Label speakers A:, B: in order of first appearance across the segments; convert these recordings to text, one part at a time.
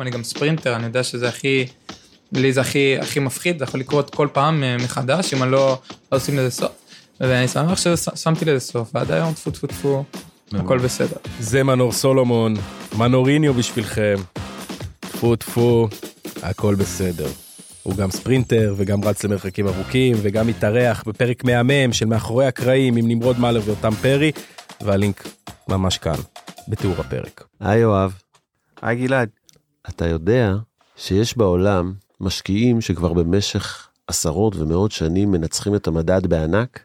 A: אני גם ספרינטר, אני יודע שזה הכי, לי זה הכי, הכי מפחיד, זה יכול לקרות כל פעם אה, מחדש, אם אני לא, לא עושים לזה סוף. ואני שמח ששמתי לזה סוף, ועד היום טפו טפו טפו, הכל בסדר.
B: זה מנור סולומון, מנוריניו בשבילכם. טפו טפו, הכל בסדר. הוא גם ספרינטר וגם רץ למרחקים ארוכים וגם התארח בפרק מהמם של מאחורי הקרעים עם נמרוד מאלר ויותם פרי, והלינק ממש כאן, בתיאור הפרק.
C: היי יואב,
D: היי גלעד.
C: אתה יודע שיש בעולם משקיעים שכבר במשך עשרות ומאות שנים מנצחים את המדד בענק?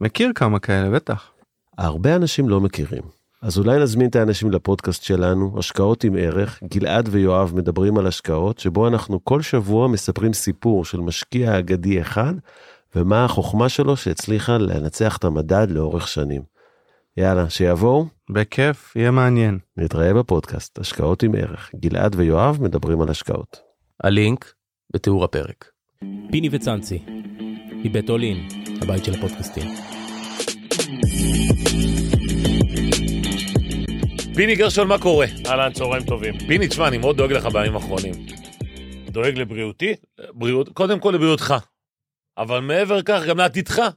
D: מכיר כמה כאלה, בטח.
C: הרבה אנשים לא מכירים. אז אולי נזמין את האנשים לפודקאסט שלנו, השקעות עם ערך, גלעד ויואב מדברים על השקעות, שבו אנחנו כל שבוע מספרים סיפור של משקיע אגדי אחד, ומה החוכמה שלו שהצליחה לנצח את המדד לאורך שנים. יאללה, שיבואו,
D: בכיף, יהיה מעניין.
C: נתראה בפודקאסט, השקעות עם ערך, גלעד ויואב מדברים על השקעות.
B: הלינק בתיאור הפרק. פיני וצאנצי, מבית אולין, הבית של הפודקאסטים.
E: פיני גרשון, מה קורה?
F: אהלן, צהריים טובים.
E: פיני, תשמע, אני מאוד דואג לך בימים האחרונים.
F: דואג לבריאותי?
E: בריאות, קודם כל לבריאותך, אבל מעבר כך גם לעתידך.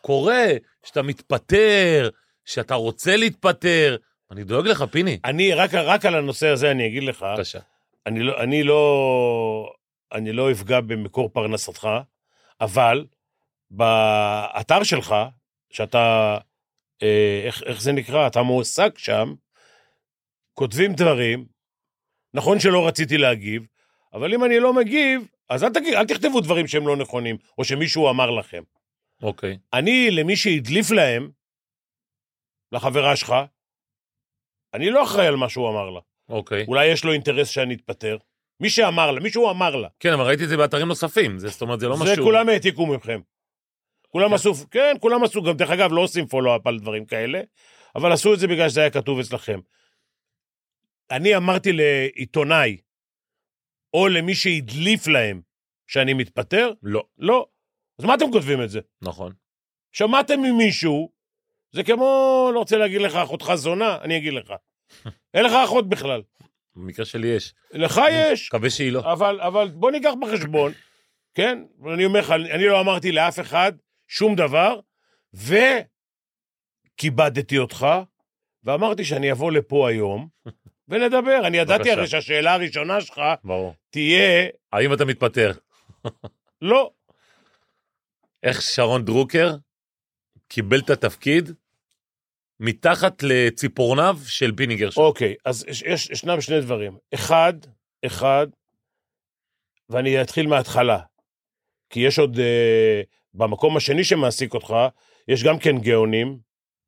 E: קורה שאתה מתפטר, שאתה רוצה להתפטר. אני דואג לך, פיני.
F: אני, רק, רק על הנושא הזה אני אגיד לך,
E: בבקשה.
F: אני לא, אני, לא, אני לא אפגע במקור פרנסתך, אבל באתר שלך, שאתה, אה, איך, איך זה נקרא, אתה מועסק שם, כותבים דברים, נכון שלא רציתי להגיב, אבל אם אני לא מגיב, אז אל, תגיד, אל תכתבו דברים שהם לא נכונים, או שמישהו אמר לכם.
E: אוקיי.
F: אני, למי שהדליף להם, לחברה שלך, אני לא אחראי על מה שהוא אמר לה.
E: אוקיי.
F: אולי יש לו אינטרס שאני אתפטר. מי שאמר לה, מישהו אמר לה.
E: כן, אבל ראיתי את זה באתרים נוספים, זה, זאת אומרת, זה לא
F: זה
E: משהו...
F: כולם העתיקו ממכם. כולם
E: כן.
F: עשו, כן, כולם עשו, גם דרך אגב, לא עושים פולו-אפ על דברים כאלה, אבל עשו את זה בגלל שזה היה כתוב אצלכם. אני אמרתי לעיתונאי, או למי שהדליף להם, שאני מתפטר?
E: לא,
F: לא. אז מה אתם כותבים את זה?
E: נכון.
F: שמעתם ממישהו, זה כמו, לא רוצה להגיד לך אחותך זונה, אני אגיד לך. אין לך אחות בכלל.
E: במקרה שלי יש.
F: לך יש,
E: מקווה שהיא לא.
F: אבל, אבל בוא ניקח בחשבון, כן? אני אומר לך, אני לא אמרתי לאף אחד שום דבר, וכיבדתי אותך, ואמרתי שאני אבוא לפה היום, ונדבר. אני ידעתי
E: בבקשה.
F: הרי שהשאלה הראשונה שלך
E: ברור.
F: תהיה,
E: האם אתה מתפטר?
F: לא,
E: איך שרון דרוקר קיבל את התפקיד מתחת לציפורניו של פיני גרשון.
F: אוקיי, אז יש, יש, ישנם שני דברים. אחד, אחד, ואני אתחיל מההתחלה, כי יש עוד, אה, במקום השני שמעסיק אותך, יש גם כן גאונים,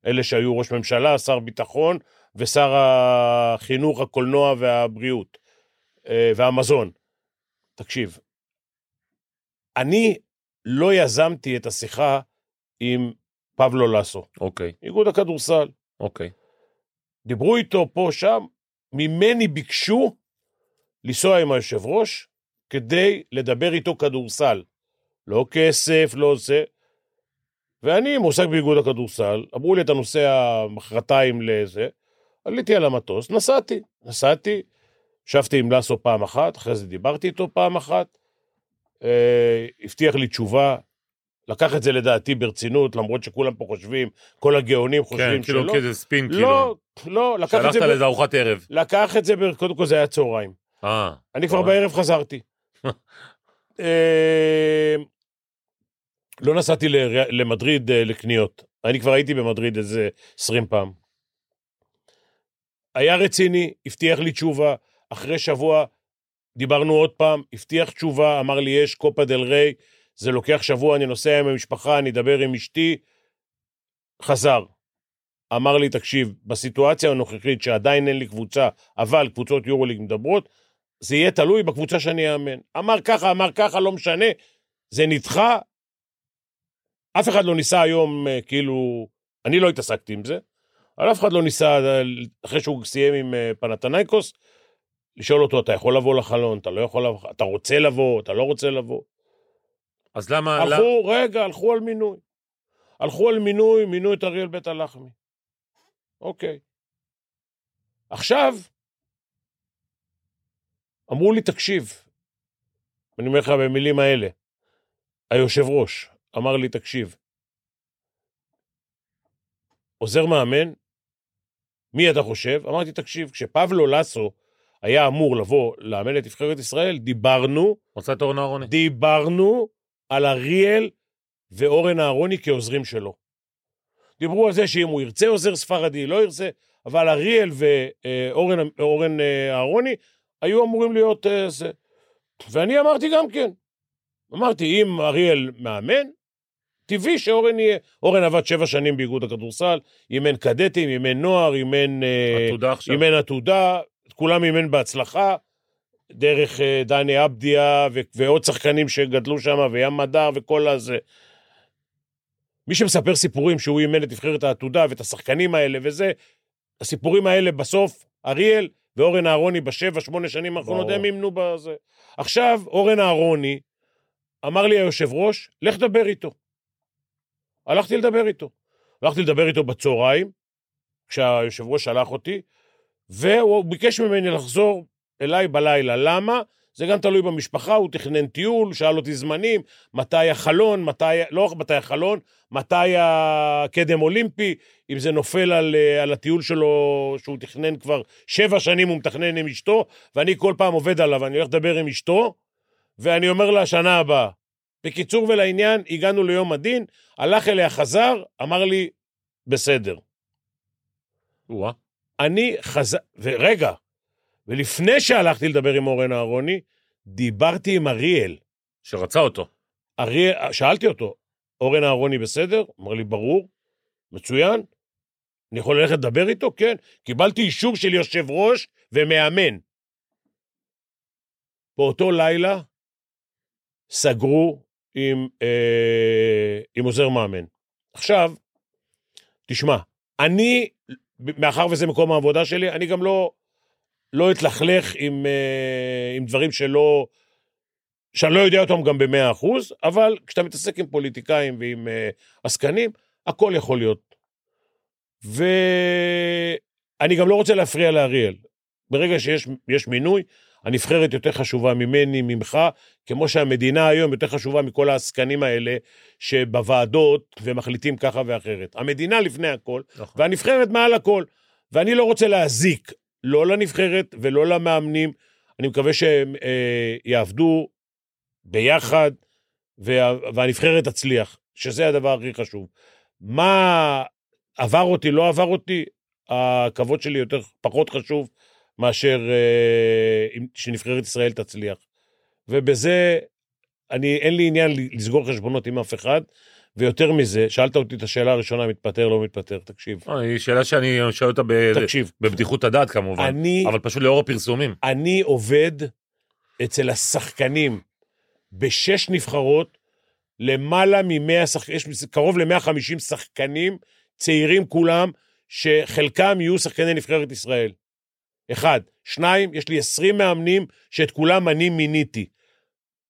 F: אלה שהיו ראש ממשלה, שר ביטחון ושר החינוך, הקולנוע והבריאות אה, והמזון. תקשיב, אני לא יזמתי את השיחה עם פבלו לסו,
E: אוקיי,
F: איגוד הכדורסל.
E: אוקיי.
F: דיברו איתו פה, שם, ממני ביקשו לנסוע עם היושב ראש כדי לדבר איתו כדורסל. לא כסף, לא זה. ואני מועסק באיגוד הכדורסל, אמרו לי אתה נוסע מחרתיים לזה, עליתי על המטוס, נסעתי, נסעתי, ישבתי עם לסו פעם אחת, אחרי זה דיברתי איתו פעם אחת, אה, הבטיח לי תשובה, לקח את זה לדעתי ברצינות, למרות שכולם פה חושבים, כל הגאונים חושבים
E: כן, כאילו
F: שלא.
E: כאיזה ספין,
F: לא,
E: כאילו.
F: לא, לקח את, זה
E: שלחת
F: ב...
E: לאיזה ארוחת ערב.
F: לקח את זה, ב... קודם כל זה היה צהריים.
E: אה,
F: אני כבר
E: צהריים.
F: בערב חזרתי. אה, לא נסעתי ל... למדריד אה, לקניות. אני כבר הייתי במדריד איזה 20 פעם. היה רציני, הבטיח לי תשובה, אחרי שבוע דיברנו עוד פעם, הבטיח תשובה, אמר לי, יש קופה דל ריי, זה לוקח שבוע, אני נוסע עם המשפחה, אני אדבר עם אשתי. חזר. אמר לי, תקשיב, בסיטואציה הנוכחית שעדיין אין לי קבוצה, אבל קבוצות יורוליג מדברות, זה יהיה תלוי בקבוצה שאני אאמן. אמר ככה, אמר ככה, לא משנה, זה נדחה. אף אחד לא ניסה היום, אה, כאילו, אני לא התעסקתי עם זה, אבל אף אחד לא ניסה, אה, אחרי שהוא סיים עם אה, פנתנייקוס, לשאול אותו, אתה יכול לבוא לחלון, אתה לא יכול לבוא, אתה רוצה לבוא, אתה לא רוצה לבוא.
E: אז למה... למה-
F: הלכו, רגע, הלכו על מינוי. הלכו על מינוי, מינו את אריאל בית הלחמי. אוקיי. עכשיו, אמרו לי, תקשיב, אני אומר לך במילים האלה, היושב ראש אמר לי, תקשיב, עוזר מאמן, מי אתה חושב? אמרתי, תקשיב, כשפבלו לסו היה אמור לבוא לאמן את נבחרת ישראל, דיברנו,
E: רוצה את אורן אהרוני.
F: דיברנו על אריאל ואורן אהרוני כעוזרים שלו. דיברו על זה שאם הוא ירצה עוזר ספרדי, לא ירצה, אבל אריאל ואורן אורן אה, אהרוני היו אמורים להיות אה, זה. ואני אמרתי גם כן. אמרתי, אם אריאל מאמן, טבעי שאורן יהיה. אורן עבד שבע שנים באיגוד הכדורסל, אימן קדטים, אימן נוער, אימן... אה,
E: עתודה עכשיו.
F: אימן עתודה, את כולם אימן בהצלחה, דרך אה, דני אבדיה ו- ועוד שחקנים שגדלו שם, וים מדר וכל הזה. מי שמספר סיפורים שהוא אימן את נבחרת העתודה ואת השחקנים האלה וזה, הסיפורים האלה בסוף, אריאל ואורן אהרוני בשבע, שמונה שנים האחרונות,
E: ברור.
F: הם אימנו בזה. עכשיו, אורן אהרוני, אמר לי היושב ראש, לך דבר איתו. הלכתי לדבר איתו. הלכתי לדבר איתו בצהריים, כשהיושב ראש שלח אותי, והוא ביקש ממני לחזור אליי בלילה. למה? זה גם תלוי במשפחה, הוא תכנן טיול, שאל אותי זמנים, מתי החלון, מתי, לא מתי החלון, מתי הקדם אולימפי, אם זה נופל על, אה, על הטיול שלו שהוא תכנן כבר שבע שנים, הוא מתכנן עם אשתו, ואני כל פעם עובד עליו, אני הולך לדבר עם אשתו, ואני אומר לה, שנה הבאה. בקיצור ולעניין, הגענו ליום הדין, הלך אליה, חזר, אמר לי, בסדר.
E: וואה.
F: אני חזר... ורגע, ולפני שהלכתי לדבר עם אורן אהרוני, דיברתי עם אריאל.
E: שרצה אותו.
F: אריאל, שאלתי אותו, אורן אהרוני בסדר? אמר לי, ברור, מצוין. אני יכול ללכת לדבר איתו? כן. קיבלתי אישור של יושב ראש ומאמן. באותו לילה סגרו עם, אה, עם עוזר מאמן. עכשיו, תשמע, אני, מאחר וזה מקום העבודה שלי, אני גם לא, לא אתלכלך עם, אה, עם דברים שלא, שאני לא יודע אותם גם במאה אחוז, אבל כשאתה מתעסק עם פוליטיקאים ועם אה, עסקנים, הכל יכול להיות. ואני גם לא רוצה להפריע לאריאל. ברגע שיש יש מינוי, הנבחרת יותר חשובה ממני, ממך, כמו שהמדינה היום יותר חשובה מכל העסקנים האלה שבוועדות ומחליטים ככה ואחרת. המדינה לפני הכל,
E: נכון.
F: והנבחרת מעל הכל. ואני לא רוצה להזיק, לא לנבחרת ולא למאמנים. אני מקווה שהם אה, יעבדו ביחד, וה, והנבחרת תצליח, שזה הדבר הכי חשוב. מה עבר אותי, לא עבר אותי, הכבוד שלי יותר, פחות חשוב מאשר אה, אם- שנבחרת ישראל תצליח. ובזה, אני, אין לי עניין ל- לסגור חשבונות עם אף אחד, ויותר מזה, שאלת אותי את השאלה הראשונה, מתפטר, לא מתפטר, תקשיב.
E: אה, היא שאלה שאני שואל אותה ב-
F: תקשיב,
E: בבדיחות הדעת כמובן,
F: אני,
E: אבל פשוט לאור הפרסומים.
F: אני עובד אצל השחקנים בשש נבחרות, למעלה מ-100 שחקנים, יש קרוב ל-150 שחקנים, צעירים כולם, שחלקם יהיו שחקני נבחרת ישראל. אחד. שניים, יש לי 20 מאמנים שאת כולם אני מיניתי.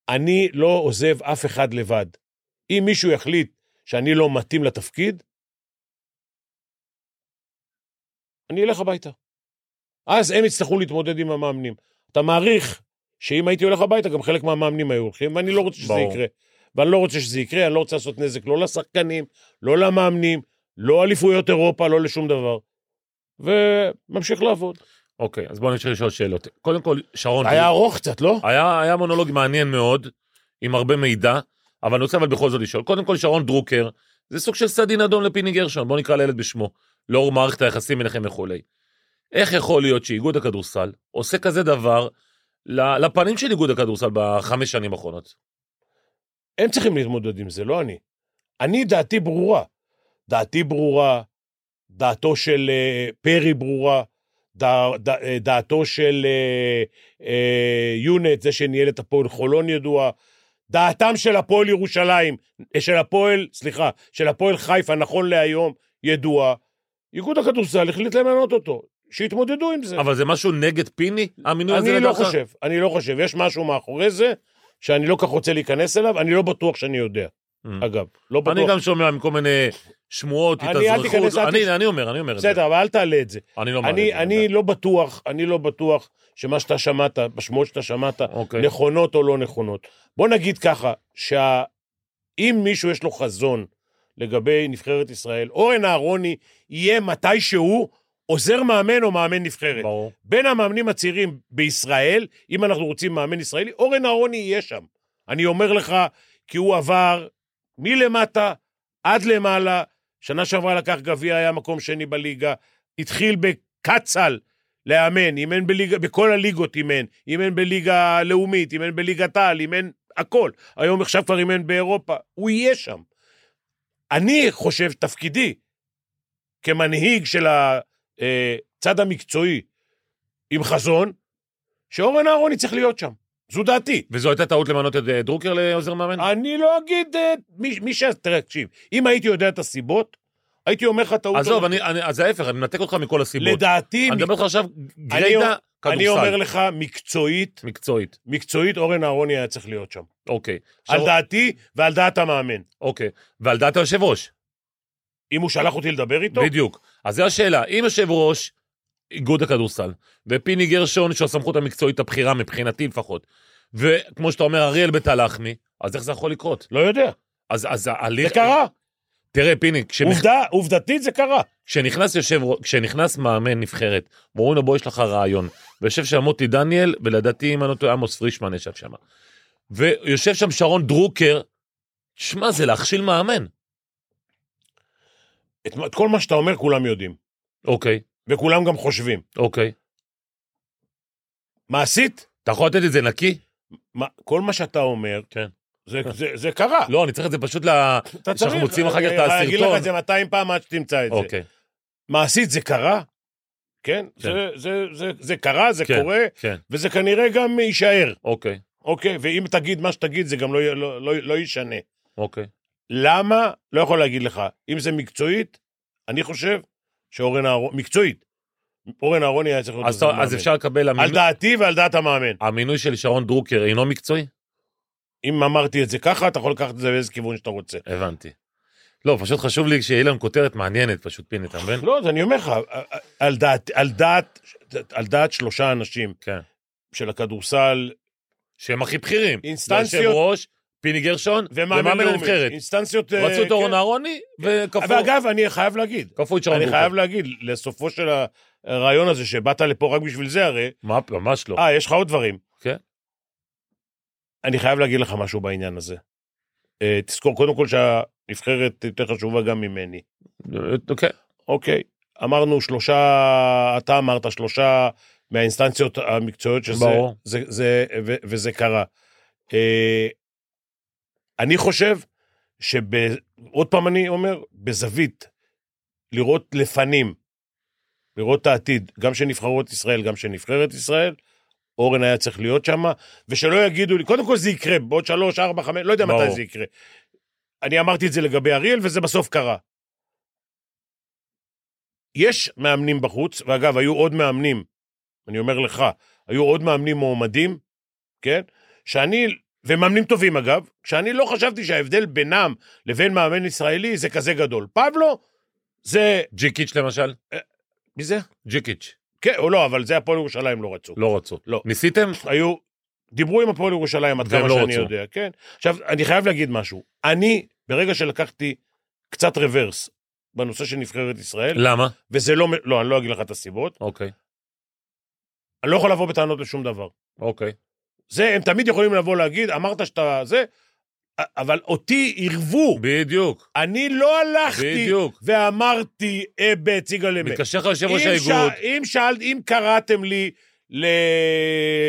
F: אני לא עוזב אף אחד לבד. אם מישהו יחליט שאני לא מתאים לתפקיד, אני אלך הביתה. אז הם יצטרכו להתמודד עם המאמנים. אתה מעריך שאם הייתי הולך הביתה, גם חלק מהמאמנים היו הולכים, ואני לא רוצה שזה
E: ברור.
F: יקרה. ואני לא רוצה שזה יקרה, אני לא רוצה לעשות נזק לא לשחקנים, לא למאמנים, לא אליפויות אירופה, לא לשום דבר. וממשיך לעבוד.
E: אוקיי, אז בואו נמשיך לשאול שאלות. קודם כל, שרון,
F: היה ארוך קצת, לא?
E: היה, היה מונולוג מעניין מאוד, עם הרבה מידע, אבל אני רוצה אבל בכל זאת לשאול. קודם כל, שרון דרוקר, זה סוג של סדין אדום לפיני גרשון, בוא נקרא לילד בשמו, לאור מערכת היחסים ביניכם וכולי. איך יכול להיות שאיגוד הכדורסל עושה כזה דבר ל- לפנים של איגוד הכדורסל בחמש שנים האחרונות?
F: הם צריכים להתמודד עם זה, לא אני. אני, דעתי ברורה. דעתי ברורה, דעתו של אה, פרי ברורה, דע, דע, אה, דעתו של אה, אה, יונט, זה שניהל את הפועל חולון ידוע, דעתם של הפועל ירושלים, אה, של הפועל, סליחה, של הפועל חיפה, נכון להיום, ידועה. איגוד הכדורסל החליט למנות אותו, שיתמודדו עם זה.
E: אבל זה משהו נגד פיני, המינוי הזה
F: אני לא
E: לדעתך?
F: חושב, אני לא חושב. יש משהו מאחורי זה שאני לא כך רוצה להיכנס אליו, אני לא בטוח שאני יודע.
E: Mm.
F: אגב, לא בטוח.
E: אני גם שומע מכל מיני שמועות,
F: אני, אל תיכנס,
E: התאזרחות.
F: אל תש-
E: אני אני אומר, אני אומר את זה.
F: בסדר, אבל אל תעלה את זה.
E: אני לא מעלה את
F: אני,
E: זה.
F: אני לא בטוח, אני לא בטוח שמה שאתה שמעת, בשמועות שאתה שמעת,
E: אוקיי.
F: נכונות או לא נכונות. בוא נגיד ככה, שאם מישהו יש לו חזון לגבי נבחרת ישראל, אורן אהרוני יהיה מתישהו עוזר מאמן או מאמן נבחרת.
E: ברור.
F: בין המאמנים הצעירים בישראל, אם אנחנו רוצים מאמן ישראלי, אורן אהרוני יהיה שם. אני אומר לך, כי הוא עבר מלמטה עד למעלה. שנה שעברה לקח גביע, היה מקום שני בליגה. התחיל בקצ"ל לאמן, אימן בליגה, בכל הליגות אימן. אימן בליגה לאומית, אימן בליגת העל, אימן הכל. היום עכשיו כבר אימן באירופה. הוא יהיה שם. אני חושב, תפקידי כמנהיג של הצד המקצועי עם חזון, שאורן אהרוני צריך להיות שם. זו דעתי.
E: וזו הייתה טעות למנות את אה, דרוקר לעוזר מאמן?
F: אני לא אגיד... אה, מי, מי ש... תראה, תקשיב, אם הייתי יודע את הסיבות, הייתי אומר לך טעות.
E: עזוב, אני- אני- אז ההפך, אני מנתק אותך מכל הסיבות. אני
F: לדעתי, מק...
E: מדבר לך עכשיו גרידא
F: אני אומר
E: כדורסל,
F: לך, מקצועית,
E: מקצועית.
F: מקצועית, אורן אהרוני היה צריך להיות שם.
E: אוקיי.
F: על
E: עכשיו-
F: דעתי ועל דעת המאמן.
E: אוקיי. ועל דעת היושב ראש.
F: אם הוא שלח אותי לדבר איתו,
E: בדיוק. אז זו השאלה, אם יושב ראש איגוד הכדורסל, ופיני גרשון, שהוא הסמכות המקצועית הבכירה מבחינתי לפחות, וכמו שאתה אומר, אריאל בית הלחמי, אז איך זה יכול לקרות?
F: לא יודע.
E: אז, אז
F: זה
E: ההליך...
F: קרה.
E: תראה, פיני, כשנכ...
F: עובדה, עובדתית זה קרה.
E: כשנכנס, יושב... כשנכנס מאמן נבחרת, ואומרים לו, בוא, יש לך רעיון, ויושב שם מוטי דניאל, ולדעתי, אם אני לא טועה, עמוס פרישמן ישב שם. ויושב שם שרון דרוקר, שמע, זה להכשיל מאמן.
F: את, את כל מה שאתה אומר כולם יודעים,
E: אוקיי,
F: וכולם גם חושבים.
E: אוקיי.
F: מעשית,
E: אתה יכול לתת את זה נקי?
F: מה, כל מה שאתה אומר,
E: כן.
F: זה, זה, זה קרה.
E: לא, אני צריך את זה פשוט ל...
F: אתה אה,
E: שאנחנו מוציאים אחר כך את
F: אני אגיד לך
E: הסרטון.
F: את זה 200 פעם עד שתמצא את זה.
E: אוקיי,
F: מעשית זה קרה, כן?
E: כן.
F: זה, זה, זה, זה קרה, זה
E: כן.
F: קורה,
E: כן,
F: וזה כנראה גם יישאר,
E: אוקיי,
F: אוקיי? ואם תגיד מה שתגיד, זה גם לא, י- לא, לא, לא ישנה.
E: אוקיי.
F: למה? לא יכול להגיד לך. אם זה מקצועית, אני חושב שאורן אהרון, מקצועית, אורן אהרוני היה צריך להיות
E: אז
F: עוזר
E: אתה- אז
F: מאמן.
E: אפשר לקבל...
F: על
E: המינוי-
F: דעתי ועל דעת המאמן.
E: המינוי של שרון דרוקר אינו מקצועי?
F: אם אמרתי את זה ככה, אתה יכול לקחת את זה באיזה כיוון שאתה רוצה.
E: הבנתי. לא, פשוט חשוב לי שיהיה לנו כותרת מעניינת פשוט, פיני, אתה מבין?
F: לא, אז אני אומר לך, על דעת, על דעת, על דעת שלושה אנשים
E: כן.
F: של הכדורסל,
E: שהם הכי בכירים.
F: אינסטנציות-
E: יושב ראש, פיני גרשון, ומאמן
F: לאומי.
E: הנבחרת.
F: אינסטנציות... אה,
E: רצו את אורן
F: כן.
E: אהרוני, וכפו
F: ואגב, אני חייב להגיד,
E: כפו את שרון
F: אני
E: דרוקר.
F: חייב להגיד, לסופו של הרעיון הזה, שבאת לפה רק בשביל זה הרי,
E: מה, ממש לא.
F: אה, יש לך עוד דברים.
E: כן.
F: אני חייב להגיד לך משהו בעניין הזה. אה, תזכור, קודם כל שהנבחרת יותר חשובה גם ממני.
E: אוקיי.
F: אה, אוקיי, אמרנו שלושה, אתה אמרת שלושה מהאינסטנציות המקצועיות שזה,
E: ברור.
F: זה, זה, ו, וזה קרה. אה, אני חושב שב... עוד פעם אני אומר, בזווית, לראות לפנים, לראות את העתיד, גם של נבחרות ישראל, גם של נבחרת ישראל, אורן היה צריך להיות שם, ושלא יגידו לי, קודם כל זה יקרה, בעוד שלוש, ארבע, חמש, לא יודע
E: ברור.
F: מתי זה יקרה. אני אמרתי את זה לגבי אריאל, וזה בסוף קרה. יש מאמנים בחוץ, ואגב, היו עוד מאמנים, אני אומר לך, היו עוד מאמנים מועמדים, כן? שאני, ומאמנים טובים אגב, שאני לא חשבתי שההבדל בינם לבין מאמן ישראלי זה כזה גדול. פבלו, זה...
E: ג'יקיץ' למשל?
F: מי זה?
E: ג'יקיץ'.
F: כן, או לא, אבל זה הפועל ירושלים לא רצו.
E: לא רצו.
F: לא.
E: ניסיתם?
F: היו, דיברו עם הפועל ירושלים עד
E: והם
F: כמה
E: לא
F: שאני
E: רצו.
F: יודע, כן. עכשיו, אני חייב להגיד משהו. אני, ברגע שלקחתי קצת רוורס בנושא של נבחרת ישראל,
E: למה?
F: וזה לא, לא, אני לא אגיד לך את הסיבות,
E: אוקיי,
F: אני לא יכול לבוא בטענות לשום דבר.
E: אוקיי.
F: זה, הם תמיד יכולים לבוא להגיד, אמרת שאתה זה, אבל אותי עירבו.
E: בדיוק,
F: אני לא הלכתי
E: בדיוק.
F: ואמרתי אה, בציגה למה.
E: מתקשר לך יושב ראש
F: אם, ש...
E: האיגוד.
F: אם שאלת, אם קראתם לי ל...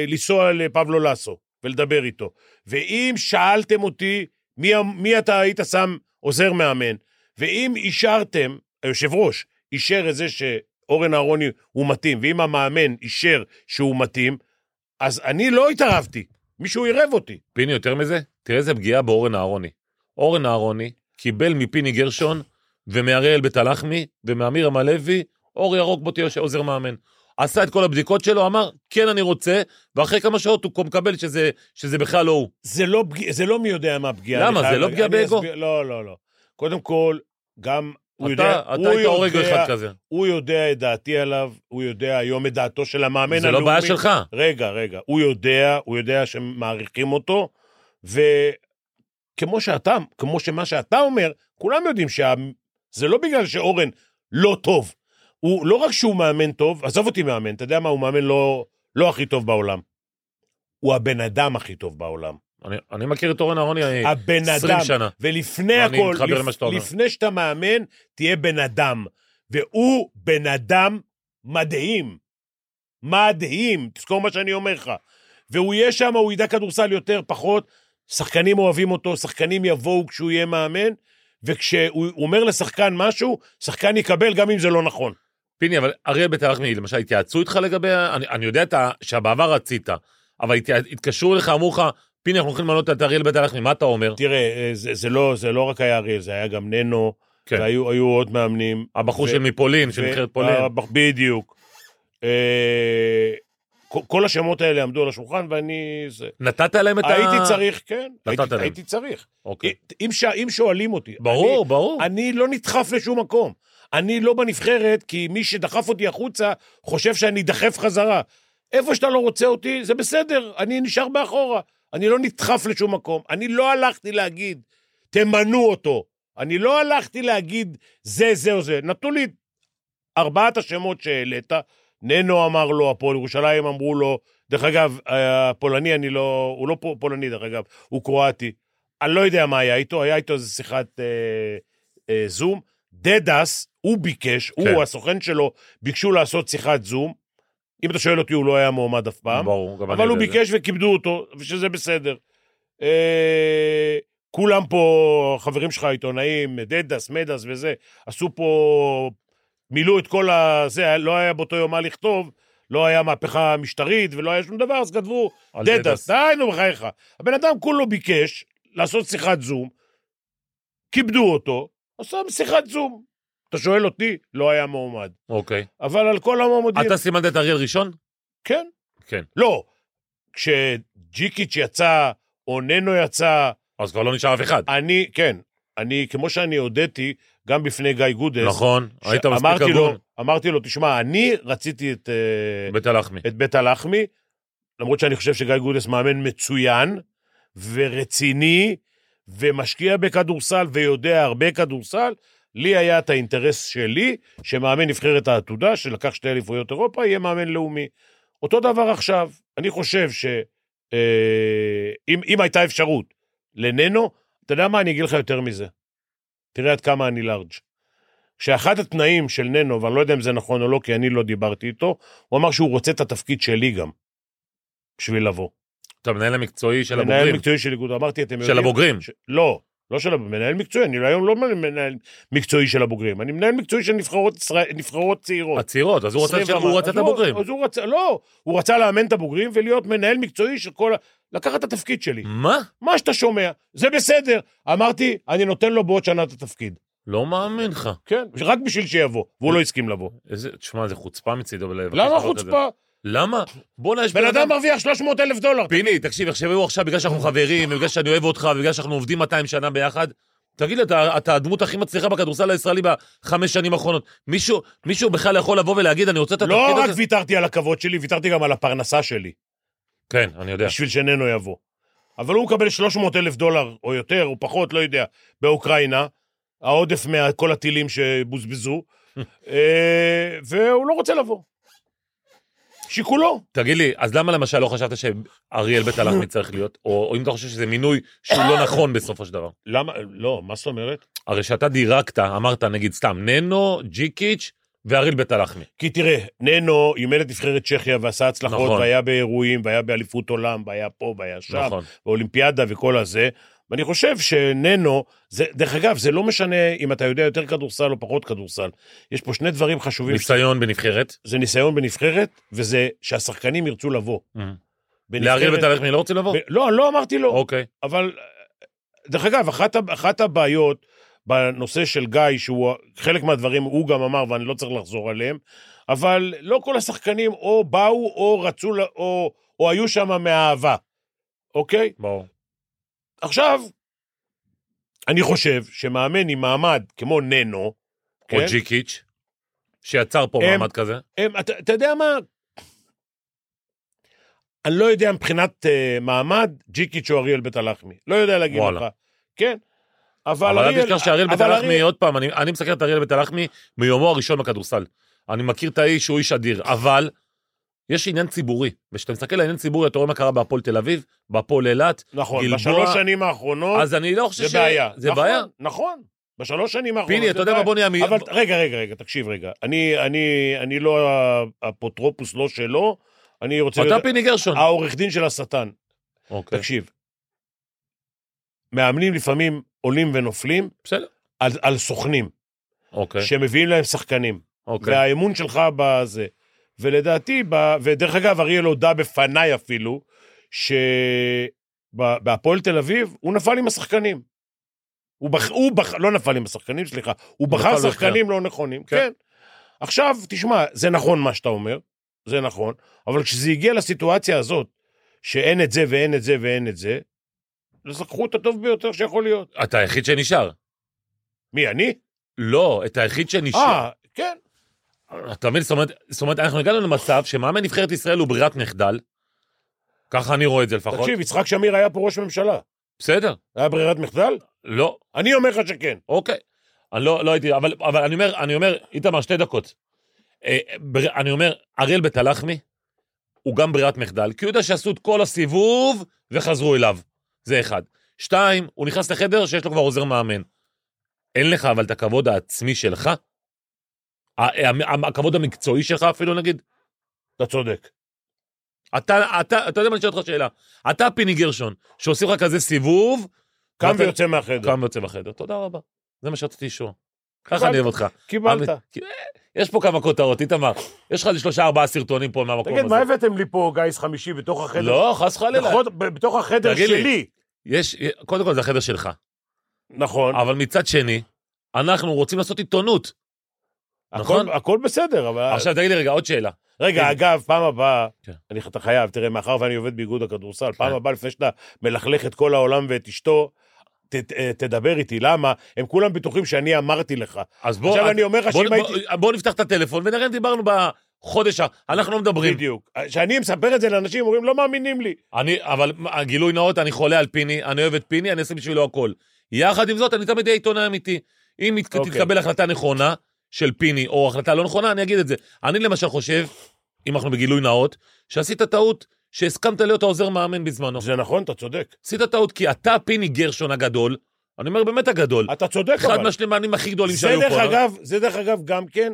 F: לנסוע לפבלו לסו ולדבר איתו, ואם שאלתם אותי מי, ה- מי אתה היית שם עוזר מאמן, ואם אישרתם, היושב ראש אישר את זה שאורן אהרוני הוא מתאים, ואם המאמן אישר שהוא מתאים, אז אני לא התערבתי, מישהו עירב אותי.
E: פיני, יותר מזה, תראה איזה פגיעה באורן אהרוני. אורן אהרוני קיבל מפיני גרשון ומאריאל בית הלחמי ומאמיר עמלוי, אור ירוק בוא תהיה עוזר מאמן. עשה את כל הבדיקות שלו, אמר, כן, אני רוצה, ואחרי כמה שעות הוא כבר מקבל שזה, שזה בכלל לא הוא.
F: זה לא, פגיע- זה לא מי יודע מה פגיעה.
E: למה?
F: אני חייב
E: זה לא
F: להגיד.
E: פגיעה
F: אני
E: באגו?
F: אסביר- לא, לא, לא. קודם כל, גם הוא יודע,
E: אתה
F: הוא
E: אתה היית הורג
F: יודע-
E: אחד כזה.
F: הוא יודע את דעתי עליו, הוא יודע היום את דעתו של המאמן
E: זה לא בעיה שלך.
F: רגע, רגע. הוא יודע, הוא יודע שמעריכים אותו, וכמו שאתה, כמו שמה שאתה אומר, כולם יודעים שזה לא בגלל שאורן לא טוב. הוא, לא רק שהוא מאמן טוב, עזוב אותי מאמן, אתה יודע מה, הוא מאמן לא, לא הכי טוב בעולם. הוא הבן אדם הכי טוב בעולם.
E: אני- אני מכיר את אורן אהרוני אה,
F: הבן
E: 20
F: אדם.
E: שנה.
F: ולפני
E: אני
F: הכל,
E: מתחבר למה
F: לפ,
E: שאתה אומר.
F: לפני שאתה מאמן, תהיה בן אדם. והוא בן אדם מדהים. מדהים, תזכור מה שאני אומר לך. והוא יהיה שם, הוא ידע כדורסל יותר, פחות. שחקנים אוהבים אותו, שחקנים יבואו כשהוא יהיה מאמן, וכשהוא אומר לשחקן משהו, שחקן יקבל גם אם זה לא נכון.
E: פיני, אבל אריאל ביתר לחמי, למשל, התייעצו איתך לגבי... ה- אני, אני יודע את ה- שבעבר רצית, אבל התייע- התקשרו אליך, אמרו לך, פיני, אנחנו הולכים למנות את אריאל ביתר לחמי, מה אתה אומר?
F: תראה, אה, זה, זה, לא, זה לא רק היה אריאל, זה היה גם ננו,
E: כן.
F: כן. והיו היו עוד מאמנים.
E: הבחור
F: ו-
E: של מפולין, של
F: ו-
E: נבחרת פולין.
F: הבח- בדיוק. אה, כל- כל השמות האלה עמדו על השולחן, ואני... זה-
E: נתת להם את ה...
F: הייתי צריך, כן.
E: נתת
F: הייתי-
E: להם.
F: הייתי צריך.
E: אוקיי.
F: אם ש- אם שואלים אותי...
E: ברור, ברור.
F: אני- אני לא נדחף לשום מקום. אני לא בנבחרת, כי מי שדחף אותי החוצה חושב שאני אדחף חזרה. איפה שאתה לא רוצה אותי, זה בסדר, אני נשאר מאחורה. אני לא נדחף לשום מקום. אני לא הלכתי להגיד, תמנו אותו. אני לא הלכתי להגיד זה, זה או זה. נתנו לי ארבעת השמות שהעלית, ננו אמר לו, הפועל ירושלים אמרו לו, דרך אגב, הפולני, אני לא, הוא לא פו- פולני, דרך אגב, הוא קרואטי. אני לא יודע מה היה איתו, היה איתו איזו שיחת אה, אה, זום. דדס, הוא ביקש, כן.
E: כן.
F: הוא, הסוכן שלו, ביקשו לעשות שיחת זום. אם אתה שואל אותי, הוא לא היה מועמד אף פעם.
E: ברור, גם אני
F: אבל הוא
E: יודע את זה.
F: ביקש וכיבדו אותו, ושזה בסדר. אה, כולם פה, חברים שלך, עיתונאים, דדס, מדס וזה, עשו פה, מילאו את כל ה... זה, לא היה באותו יום מה לכתוב, לא היה מהפכה משטרית ולא היה שום דבר, אז כתבו,
E: על
F: דדס, די, נו, בחייך. הבן אדם כולו ביקש לעשות שיחת זום, כיבדו אותו, עשה שיחת זום. אתה שואל אותי, לא היה מועמד.
E: אוקיי.
F: אבל על כל המועמדים...
E: אתה סימנת את אריאל ראשון?
F: כן.
E: כן.
F: לא, כשג'יקיץ' יצא, או ננו יצא,
E: אז כבר לא נשאר אף אחד.
F: אני, כן, אני, כמו שאני הודיתי, גם בפני גיא גודס.
E: נכון, היית מספיק
F: שאמרתי לו,
E: הגון.
F: אמרתי לו, תשמע, אני רציתי את, אה,
E: ביתר לחמי.
F: את בית הלחמי, למרות שאני חושב שגיא גודס מאמן מצוין, ורציני, ומשקיע בכדורסל, ויודע הרבה כדורסל. לי היה את האינטרס שלי, שמאמן נבחרת העתודה, שלקח שתי אליפויות אירופה, יהיה מאמן לאומי. אותו דבר עכשיו, אני חושב ש... אה, אם, אם הייתה אפשרות לננו, אתה יודע מה, אני אגיד לך יותר מזה. תראה עד כמה אני לארג'. שאחד התנאים של ננו, ואני לא יודע אם זה נכון או לא, כי אני לא דיברתי איתו, הוא אמר שהוא רוצה את התפקיד שלי גם, בשביל לבוא.
E: אתה מנהל המקצועי של
F: מנהל
E: הבוגרים.
F: מקצועי של איגוד, אמרתי, אתם יודעים...
E: של הבוגרים.
F: ש... לא, לא של הבוגרים, מנהל מקצועי, אני היום לא מנהל מקצועי של הבוגרים, אני מנהל מקצועי של נבחרות, ישראל, נבחרות צעירות.
E: הצעירות, אז הוא רצה
F: 20
E: של- הוא
F: ומעלה.
E: רצה את
F: אז לא,
E: הבוגרים.
F: אז הוא רצה, לא, הוא רצה לאמן את הבוגרים ולהיות מנהל מקצועי של כל ה... לקחת את התפקיד שלי,
E: מה?
F: מה שאתה שומע, זה בסדר. אמרתי, אני נותן לו בעוד שנה את התפקיד.
E: לא מאמין לך.
F: כן, רק בשביל שיבוא, והוא
E: Mm.
F: לא הסכים לבוא.
E: איזה, תשמע, זה חוצפה מצידו. לבקש
F: למה
E: לעשות את זה.
F: חוצפה?
E: למה? בוא'נה, יש
F: בן אדם מרוויח 300 אלף דולר.
E: פיני, תקשיב, יחשבו עכשיו, בגלל שאנחנו חברים, ובגלל שאני אוהב אותך, ובגלל שאנחנו עובדים 200 שנה ביחד, תגיד לי, אתה, אתה הדמות הכי מצליחה בכדורסל הישראלי בחמש שנים האחרונות. מישהו, מישהו בכלל יכול לבוא ולהגיד, אני רוצה את התפקיד
F: לא
E: הזה?
F: רק ויתרתי על הכבוד שלי, ויתרתי גם על הפרנסה שלי,
E: כן, אני יודע.
F: בשביל שננו יבוא. אבל הוא מקבל 300 אלף דולר, או יותר, או פחות, לא יודע, באוקראינה, העודף מכל הטילים שבוזבזו, אה, והוא לא רוצה לבוא. שיקולו.
E: תגיד לי, אז למה למשל לא חשבת שאריאל בית הלחמי צריך להיות? או, או אם אתה חושב שזה מינוי שהוא לא נכון בסופו של דבר.
F: למה? לא, מה זאת אומרת?
E: הרי שאתה דירקת, אמרת, נגיד סתם, ננו, ג'יקיץ' ואריאל בית הלחמי.
F: כי תראה, ננו אימן את נבחרת צ'כיה ועשה הצלחות,
E: נכון.
F: והיה באירועים, והיה באליפות עולם, והיה פה, והיה שם,
E: נכון.
F: באולימפיאדה וכל הזה. ואני חושב שננו, זה, דרך אגב, זה לא משנה אם אתה יודע יותר כדורסל או פחות כדורסל. יש פה שני דברים חשובים, ש...
E: ניסיון בנבחרת.
F: זה ניסיון בנבחרת, וזה שהשחקנים ירצו לבוא.
E: לאריאל בית הלחמי לא רוצה לבוא?
F: ב- לא, לא אמרתי לו,
E: אוקיי.
F: אבל... אה, דרך אגב, אחת, ה- אחת הבעיות בנושא של גיא, שהוא חלק מהדברים הוא גם אמר ואני לא צריך לחזור עליהם, אבל לא כל השחקנים או באו או רצו, ל- או, או היו שם מאהבה, אוקיי?
E: ברור.
F: עכשיו, אני חושב שמאמן עם מעמד כמו ננו,
E: או
F: כן?
E: ג'יקיץ', שיצר פה
F: הם-
E: מעמד כזה.
F: הם, אתה, אתה יודע מה? אני לא יודע מבחינת uh, מעמד, ג'יקיץ' או אריאל בית הלחמי. לא יודע להגיד
E: וואלה.
F: לך. כן. אבל
E: אבל אל
F: אריאל...
E: תשכח שאריאל
F: אבל
E: בית-הלחמי,
F: אריאל-
E: עוד פעם, אני אני מסקר את אריאל בית-הלחמי מיומו הראשון בכדורסל. אני מכיר את האיש, הוא איש אדיר, אבל יש עניין ציבורי. וכשאתה מסתכל על עניין ציבורי, אתה רואה מה קרה בהפועל תל אביב, בהפועל אילת,
F: נכון,
E: גלבוע-
F: בשלוש שנים האחרונות
E: אז אני לא חושב
F: זה
E: ש...
F: בעיה.
E: זה
F: נכון,
E: בעיה.
F: נכון. בשלוש שנים האחרונות
E: פיני,
F: זה
E: אתה יודע מה,
F: בעיה.
E: בוא נהיה...
F: אבל רגע, רגע, רגע, תקשיב רגע. אני, אני, אני לא ה- האפוטרופוס, לא שלו. אני רוצה
E: אתה פיני גרשון.
F: העורך דין של השטן.
E: אוקיי,
F: תקשיב, מאמנים לפעמים עולים ונופלים
E: בסדר.
F: על, על סוכנים,
E: אוקיי,
F: שמביאים להם שחקנים,
E: אוקיי.
F: והאמון שלך בזה. ולדעתי, ב... ודרך אגב, אריאל הודה בפניי אפילו, שבהפועל תל אביב, הוא נפל עם השחקנים. הוא, בח... הוא בח... לא נפל עם השחקנים, סליחה, הוא בחר
E: נפל בבחירה.
F: שחקנים לא נכונים,
E: כן.
F: כן. עכשיו, תשמע, זה נכון מה שאתה אומר, זה נכון, אבל כשזה הגיע לסיטואציה הזאת, שאין את זה ואין את זה ואין את זה, אז לקחו את הטוב ביותר שיכול להיות.
E: אתה היחיד שנשאר.
F: מי, אני?
E: לא, את היחיד שנשאר.
F: אה, כן.
E: אתה מבין? זאת אומרת, זאת אומרת, אנחנו הגענו למצב שמאמן נבחרת ישראל הוא ברירת מחדל. ככה אני רואה את זה לפחות.
F: תקשיב, יצחק שמיר היה פה ראש ממשלה.
E: בסדר.
F: היה ברירת מחדל?
E: לא,
F: אני אומר לך שכן.
E: אוקיי. אני לא, לא הייתי, אבל, אבל אני אומר, אני אומר, איתמר, שתי דקות. אה, בר, אני אומר, אריאל בית הלחמי הוא גם ברירת מחדל, כי הוא יודע שעשו את כל הסיבוב וחזרו אליו. זה אחד. שתיים, הוא נכנס לחדר שיש לו כבר עוזר מאמן. אין לך אבל את הכבוד העצמי שלך, ה- ה- הכבוד המקצועי שלך אפילו נגיד.
F: אתה צודק.
E: אתה, אתה, אתה יודע מה, אני שואל אותך שאלה. אתה פיני גרשון, שעושים לך כזה סיבוב,
F: קם
E: ואתה-
F: ויוצא מהחדר.
E: קם ויוצא בחדר. תודה רבה. זה מה שרציתי לשאול. ככה
F: קיבלת.
E: אני אוהב אותך.
F: קיבלת.
E: אבל- כי- אה, יש פה כמה כותרות, איתמר. יש לך איזה שלושה ארבעה סרטונים פה מהמקום הזה.
F: תגיד, מה הבאתם לי פה גיס חמישי בתוך החדר?
E: לא, חס וחלילה.
F: נכון, ב- בתוך החדר
E: תגיד לי.
F: שלי.
E: יש, אה, קודם כל זה החדר שלך.
F: נכון.
E: אבל מצד שני, אנחנו רוצים לעשות עיתונות.
F: הכל-
E: נכון.
F: הכל בסדר, אבל...
E: עכשיו תגיד לי רגע, עוד שאלה.
F: רגע,
E: כן.
F: אגב, פעם הבאה,
E: כן.
F: אני, אתה חייב, תראה, מאחר ואני עובד באיגוד הכדורסל, פעם הבאה, לפני שאתה מלכלך את כל העולם ואת אשתו, ת, ת- תדבר איתי, למה? הם כולם בטוחים שאני אמרתי לך.
E: אז בוא...
F: עכשיו
E: אז-
F: אני אומר לך
E: בוא-
F: שאם
E: בוא-
F: הייתי...
E: בוא נפתח את הטלפון ונראה אם דיברנו בחודש ה... אנחנו לא מדברים.
F: בדיוק. כשאני מספר את זה לאנשים, אומרים, לא מאמינים לי.
E: אני, אבל הגילוי נאות, אני חולה על פיני, אני אוהב את פיני, אני אעשה בשבילו הכל. יחד עם זאת, אני תמיד אהיה עיתונאי אמיתי. אם מת-
F: אוקיי.
E: תתקבל החלטה נכונה של פיני, או החלטה לא נכונה, אני אגיד את זה. אני למשל חושב, אם אנחנו בגילוי נאות, שעשית טעות שהסכמת להיות העוזר מאמן בזמנו.
F: זה נכון, אתה צודק.
E: עשית טעות כי אתה פיני גרשון הגדול, אני אומר באמת הגדול,
F: אתה צודק,
E: אחד
F: אבל.
E: מהשלימנים הכי גדולים
F: זה
E: שהיו
F: דרך
E: פה. לא? אה?
F: אגב, זה דרך אגב גם כן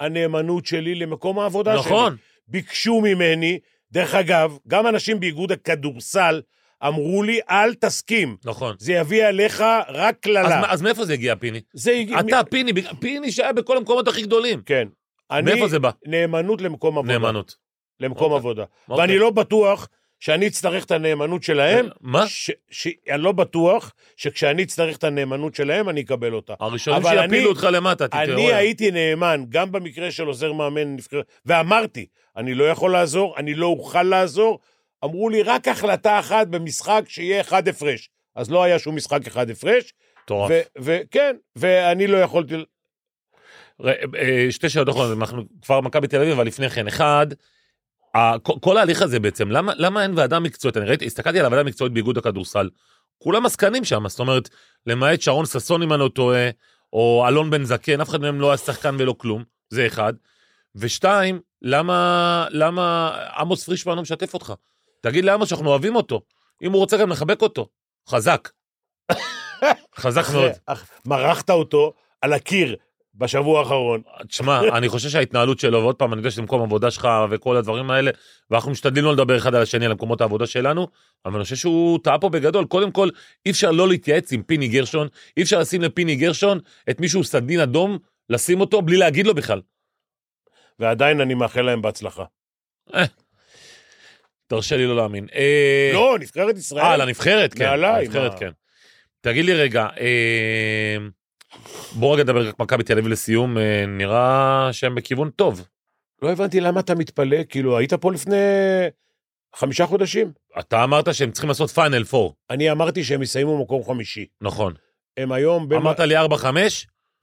F: הנאמנות שלי למקום העבודה
E: לא?
F: שלי.
E: נכון,
F: ביקשו ממני, דרך אגב, גם אנשים באיגוד הכדורסל אמרו לי, אל תסכים,
E: נכון.
F: זה יביא עליך רק
E: אז
F: קללה.
E: מה- אז מאיפה זה הגיע, פיני?
F: זה הגיע...
E: אתה פיני, בג- פיני שהיה בכל המקומות הכי גדולים.
F: כן. אני...
E: מאיפה זה בא?
F: נאמנות למקום עבודה.
E: נאמנות.
F: למקום
E: אוקיי.
F: עבודה.
E: אוקיי. אה,
F: ואני לא בטוח שאני אצטרך את הנאמנות שלהם.
E: מה?
F: ש... ש... אני לא בטוח שכשאני אצטרך את הנאמנות שלהם, אני אקבל אותה.
E: הראשונים
F: אבל אני-
E: שיפילו אותך למטה, תתעורר.
F: אני הייתי נאמן, גם במקרה של עוזר מאמן נבחרת, ואמרתי, אני לא יכול לעזור, אני לא אוכל לעזור. אמרו לי, רק החלטה אחת במשחק שיהיה אחד הפרש. אז לא היה שום משחק אחד הפרש,
E: מטורף.
F: וכן, ואני לא יכולתי...
E: ר- אה, שתי שאלות אחרונות, אנחנו כבר מכבי תל אביב, אבל לפני כן, אחד, ה- כל- כל ההליך הזה בעצם, למה, למה אין ועדה מקצועית? אני ראיתי, הסתכלתי על הוועדה המקצועית באיגוד הכדורסל, כולם עסקנים שם, זאת אומרת, למעט שרון ששון אם אני לא טועה, או אלון בן זקן, אף אחד מהם לא היה שחקן ולא כלום, זה אחד. ושתיים, למה, למה עמוס פרישמן לא משתף אותך? תגיד לעמוס שאנחנו אוהבים אותו, אם הוא רוצה גם נחבק אותו, חזק. חזק מאוד.
F: אך- מרחת אותו על הקיר בשבוע האחרון.
E: תשמע, אני חושב שההתנהלות שלו, ועוד פעם, אני יודע שזה מקום עבודה שלך וכל הדברים האלה, ואנחנו משתדלים לא לדבר אחד על השני על מקומות העבודה שלנו, אבל אני חושב שהוא טעה פה בגדול. קודם כל, אי אפשר לא להתייעץ עם פיני גרשון, אי אפשר לשים לפיני גרשון את מישהו סדין אדום, לשים אותו בלי להגיד לו בכלל.
F: ועדיין אני מאחל להם בהצלחה.
E: תרשה לי לא להאמין. אה,
F: לא, נבחרת
E: אה,
F: ישראל.
E: לנבחרת, כן.
F: מעליי,
E: לנבחרת,
F: מה?
E: כן. תגיד לי רגע, אה, בוא רגע נדבר רק מכבי תל אביב לסיום, אה, נראה שהם בכיוון טוב.
F: לא הבנתי למה אתה מתפלא, כאילו, היית פה לפני חמישה חודשים.
E: אתה אמרת שהם צריכים לעשות פאנל 4,
F: אני אמרתי שהם יסיימו מקום חמישי.
E: נכון.
F: הם היום בין...
E: אמרת לי 4-5,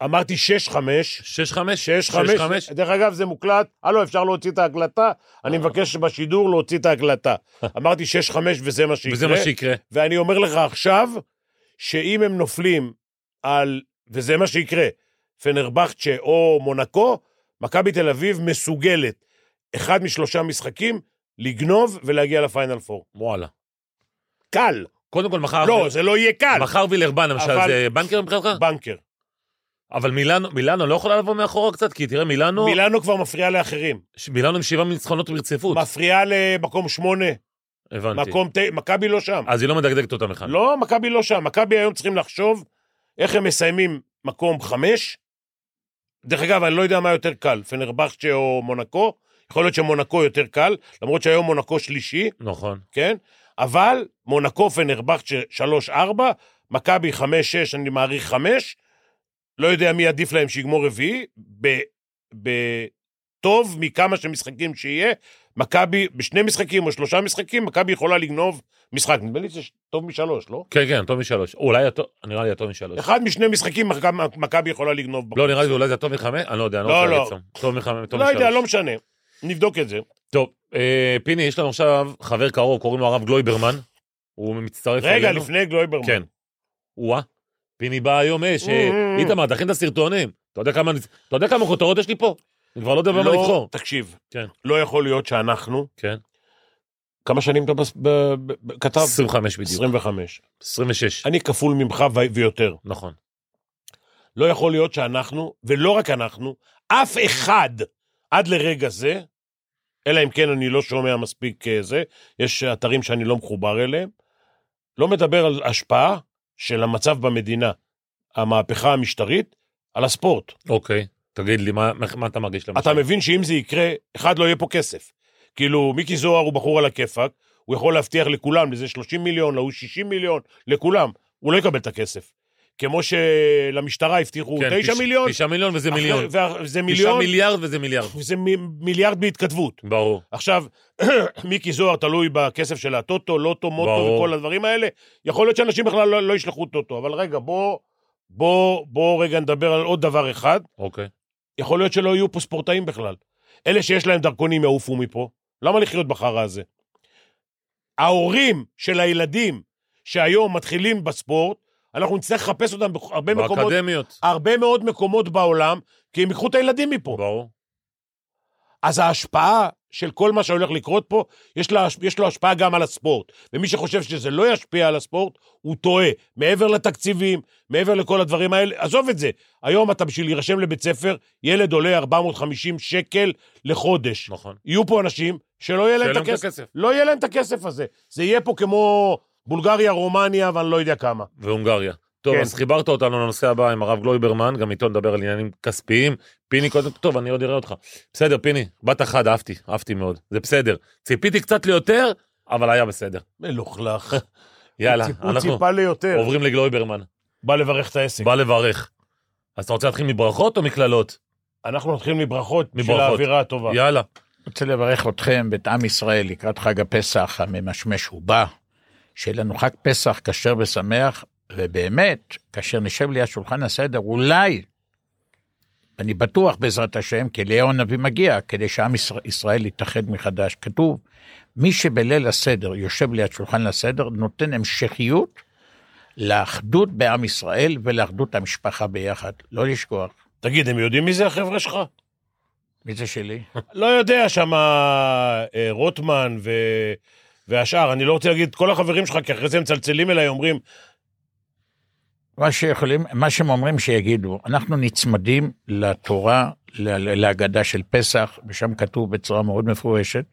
F: אמרתי 6-5.
E: 6-5?
F: 6-5. דרך אגב, זה מוקלט. הלו, אפשר להוציא את ההקלטה? אני
E: אה.
F: מבקש בשידור להוציא את ההקלטה. אמרתי 6-5 וזה מה שיקרה.
E: וזה מה שיקרה.
F: ואני אומר לך עכשיו, שאם הם נופלים על, וזה מה שיקרה, פנרבכצ'ה או מונקו, מכבי תל אביב מסוגלת אחד משלושה משחקים לגנוב ולהגיע לפיינל פור.
E: וואלה.
F: קל.
E: קודם כל, מחר...
F: לא, זה לא יהיה קל.
E: מחר וילרבן, למשל,
F: אבל-
E: זה בנקר מבחינתך?
F: בנקר.
E: אבל מילאנו, מילאנו לא יכולה לבוא מאחורה קצת? כי תראה, מילאנו...
F: מילאנו כבר מפריעה לאחרים.
E: ש- מילאנו עם שבעה ניצחונות ברציפות.
F: מפריעה למקום שמונה,
E: הבנתי.
F: מקום ת... מכבי לא שם.
E: אז היא לא מדגדגת אותם אחד.
F: לא, מכבי לא שם. מכבי היום צריכים לחשוב איך הם מסיימים מקום חמש. דרך אגב, אני לא יודע מה יותר קל, פנרבכצ'ה או מונקו. יכול להיות שמונקו יותר קל, למרות שהיום מונקו שלישי,
E: נכון.
F: כן? אבל מונקו פנרבכצ'ה 3-4, מכבי 5-6, אני מעריך 5, לא יודע מי עדיף להם שיגמור רביעי, ב- ב- טוב מכמה שמשחקים שיהיה, מכבי בשני משחקים או שלושה משחקים, מכבי יכולה לגנוב משחק, נדמה לי שזה טוב משלוש, לא?
E: כן, כן, הטוב משלוש. אולי הטוב, אה, נראה לי הטוב משלוש.
F: אחד משני משחקים מכ- מכבי יכולה לגנוב. בחוץ.
E: לא, נראה לי אולי זה הטוב מחמש? אני לא יודע, אני
F: לא,
E: לא רוצה
F: לא.
E: להגיד סתם. טוב מחמש, טוב
F: לא
E: משלוש.
F: יודע, לא משנה. נבדוק את זה.
E: טוב, אה, פיני, יש לנו עכשיו חבר קרוב, קוראים לו הרב גלויברמן. הוא מצטרף אלינו.
F: רגע, לפני גלויברמן.
E: כן. וואה, פיני בא היום אש. אה,
F: Mm.
E: איתמר, תכין את הסרטונים. אתה יודע כמה- אתה יודע כמה כותרות יש לי פה? אני כבר לא יודע במה
F: לא,
E: לבחור.
F: תקשיב,
E: כן.
F: לא יכול להיות שאנחנו,
E: כן.
F: כמה שנים אתה בס- ב- ב- ב- כתב?
E: 25 בדיוק.
F: 25.
E: 26.
F: אני כפול ממך ו- ויותר.
E: נכון.
F: לא יכול להיות שאנחנו, ולא רק אנחנו, אף אחד עד לרגע זה, אלא אם כן אני לא שומע מספיק אה, זה, יש אתרים שאני לא מחובר אליהם, לא מדבר על השפעה של המצב במדינה, המהפכה המשטרית, על הספורט.
E: אוקיי. תגיד לי, מה- מה- מה אתה מרגיש למשל?
F: אתה מבין שאם זה יקרה, אחד לא יהיה פה כסף. כאילו, מיקי זוהר הוא בחור על הכיפאק, הוא יכול להבטיח לכולם, לזה 30 מיליון, להוא 60 מיליון, לכולם. הוא לא יקבל את הכסף. כמו שלמשטרה הבטיחו
E: כן,
F: 9
E: תש-
F: מיליון,
E: תשעה מיליון וזה
F: אחרי-
E: מיליון.
F: וה- זה
E: תשעה
F: מיליון,
E: מיליארד וזה מיליארד.
F: זה מ- מיליארד בהתכתבות.
E: ברור.
F: עכשיו, מיקי זוהר תלוי בכסף של הטוטו, לוטו, מוטו
E: ברור.
F: וכל הדברים האלה. יכול להיות שאנשים בכלל לא, לא ישלחו טוטו, אבל רגע, בוא, בוא, בוא רגע נדבר על עוד דבר אחד.
E: אוקיי.
F: יכול להיות שלא יהיו פה ספורטאים בכלל. אלה שיש להם דרכונים יעופו מפה. למה לחיות בחרא הזה? ההורים של הילדים שהיום מתחילים בספורט, אנחנו נצטרך לחפש אותם בהרבה מקומות,
E: באקדמיות.
F: הרבה מאוד מקומות בעולם, כי הם ייקחו את הילדים מפה.
E: ברור.
F: אז ההשפעה של כל מה שהולך לקרות פה, יש, לה, יש לו השפעה גם על הספורט. ומי שחושב שזה לא ישפיע על הספורט, הוא טועה. מעבר לתקציבים, מעבר לכל הדברים האלה, עזוב את זה. היום אתה בשביל להירשם לבית ספר, ילד עולה 450 שקל לחודש.
E: נכון.
F: יהיו פה אנשים שלא יהיה להם את
E: שאלה
F: הכסף.
E: הכסף.
F: לא יהיה להם את הכסף הזה. זה יהיה פה כמו בולגריה, רומניה, ואני לא יודע כמה.
E: והונגריה. טוב,
F: כן.
E: אז חיברת אותנו לנושא הבא עם הרב גלויברמן, גם איתו נדבר על עניינים כספיים. פיני, קודם, טוב, אני עוד אראה אותך. בסדר, פיני, בת אחת, אהבתי, אהבתי מאוד. זה בסדר. ציפיתי קצת ליותר, אבל היה בסדר.
F: מלוכלך.
E: יאללה,
F: הוא ציפ- הוא
E: אנחנו
F: ציפה ליותר.
E: עוברים לגלויברמן.
F: בא לברך את העסק.
E: בא לברך. אז אתה רוצה להתחיל מברכות או מקללות?
F: אנחנו נתחיל מברכות, בשביל
E: מברכות.
F: האווירה הטובה.
E: יאללה.
G: רוצה לברך אתכם ואת עם ישראל לקראת חג הפסח הממשמש ובא. שיהיה לנו חג פסח כשר ושמח, ובאמת, כאשר נשב ליד שולחן הסדר, אולי, אני בטוח בעזרת השם, כי אליהו הנביא מגיע, כדי שעם ישראל, ישראל יתאחד מחדש. כתוב, מי שבליל הסדר יושב ליד שולחן הסדר, נותן המשכיות לאחדות בעם ישראל ולאחדות המשפחה ביחד. לא לשכוח.
F: תגיד, הם יודעים מי זה החבר'ה שלך?
G: מי זה שלי?
F: לא יודע, שם אה, רוטמן ו... והשאר, אני לא רוצה להגיד את כל החברים שלך, כי אחרי זה הם מצלצלים אליי, אומרים,
G: מה שיכולים, מה שהם אומרים שיגידו, אנחנו נצמדים לתורה, ל- ל- להגדה של פסח, ושם כתוב בצורה מאוד מפורשת,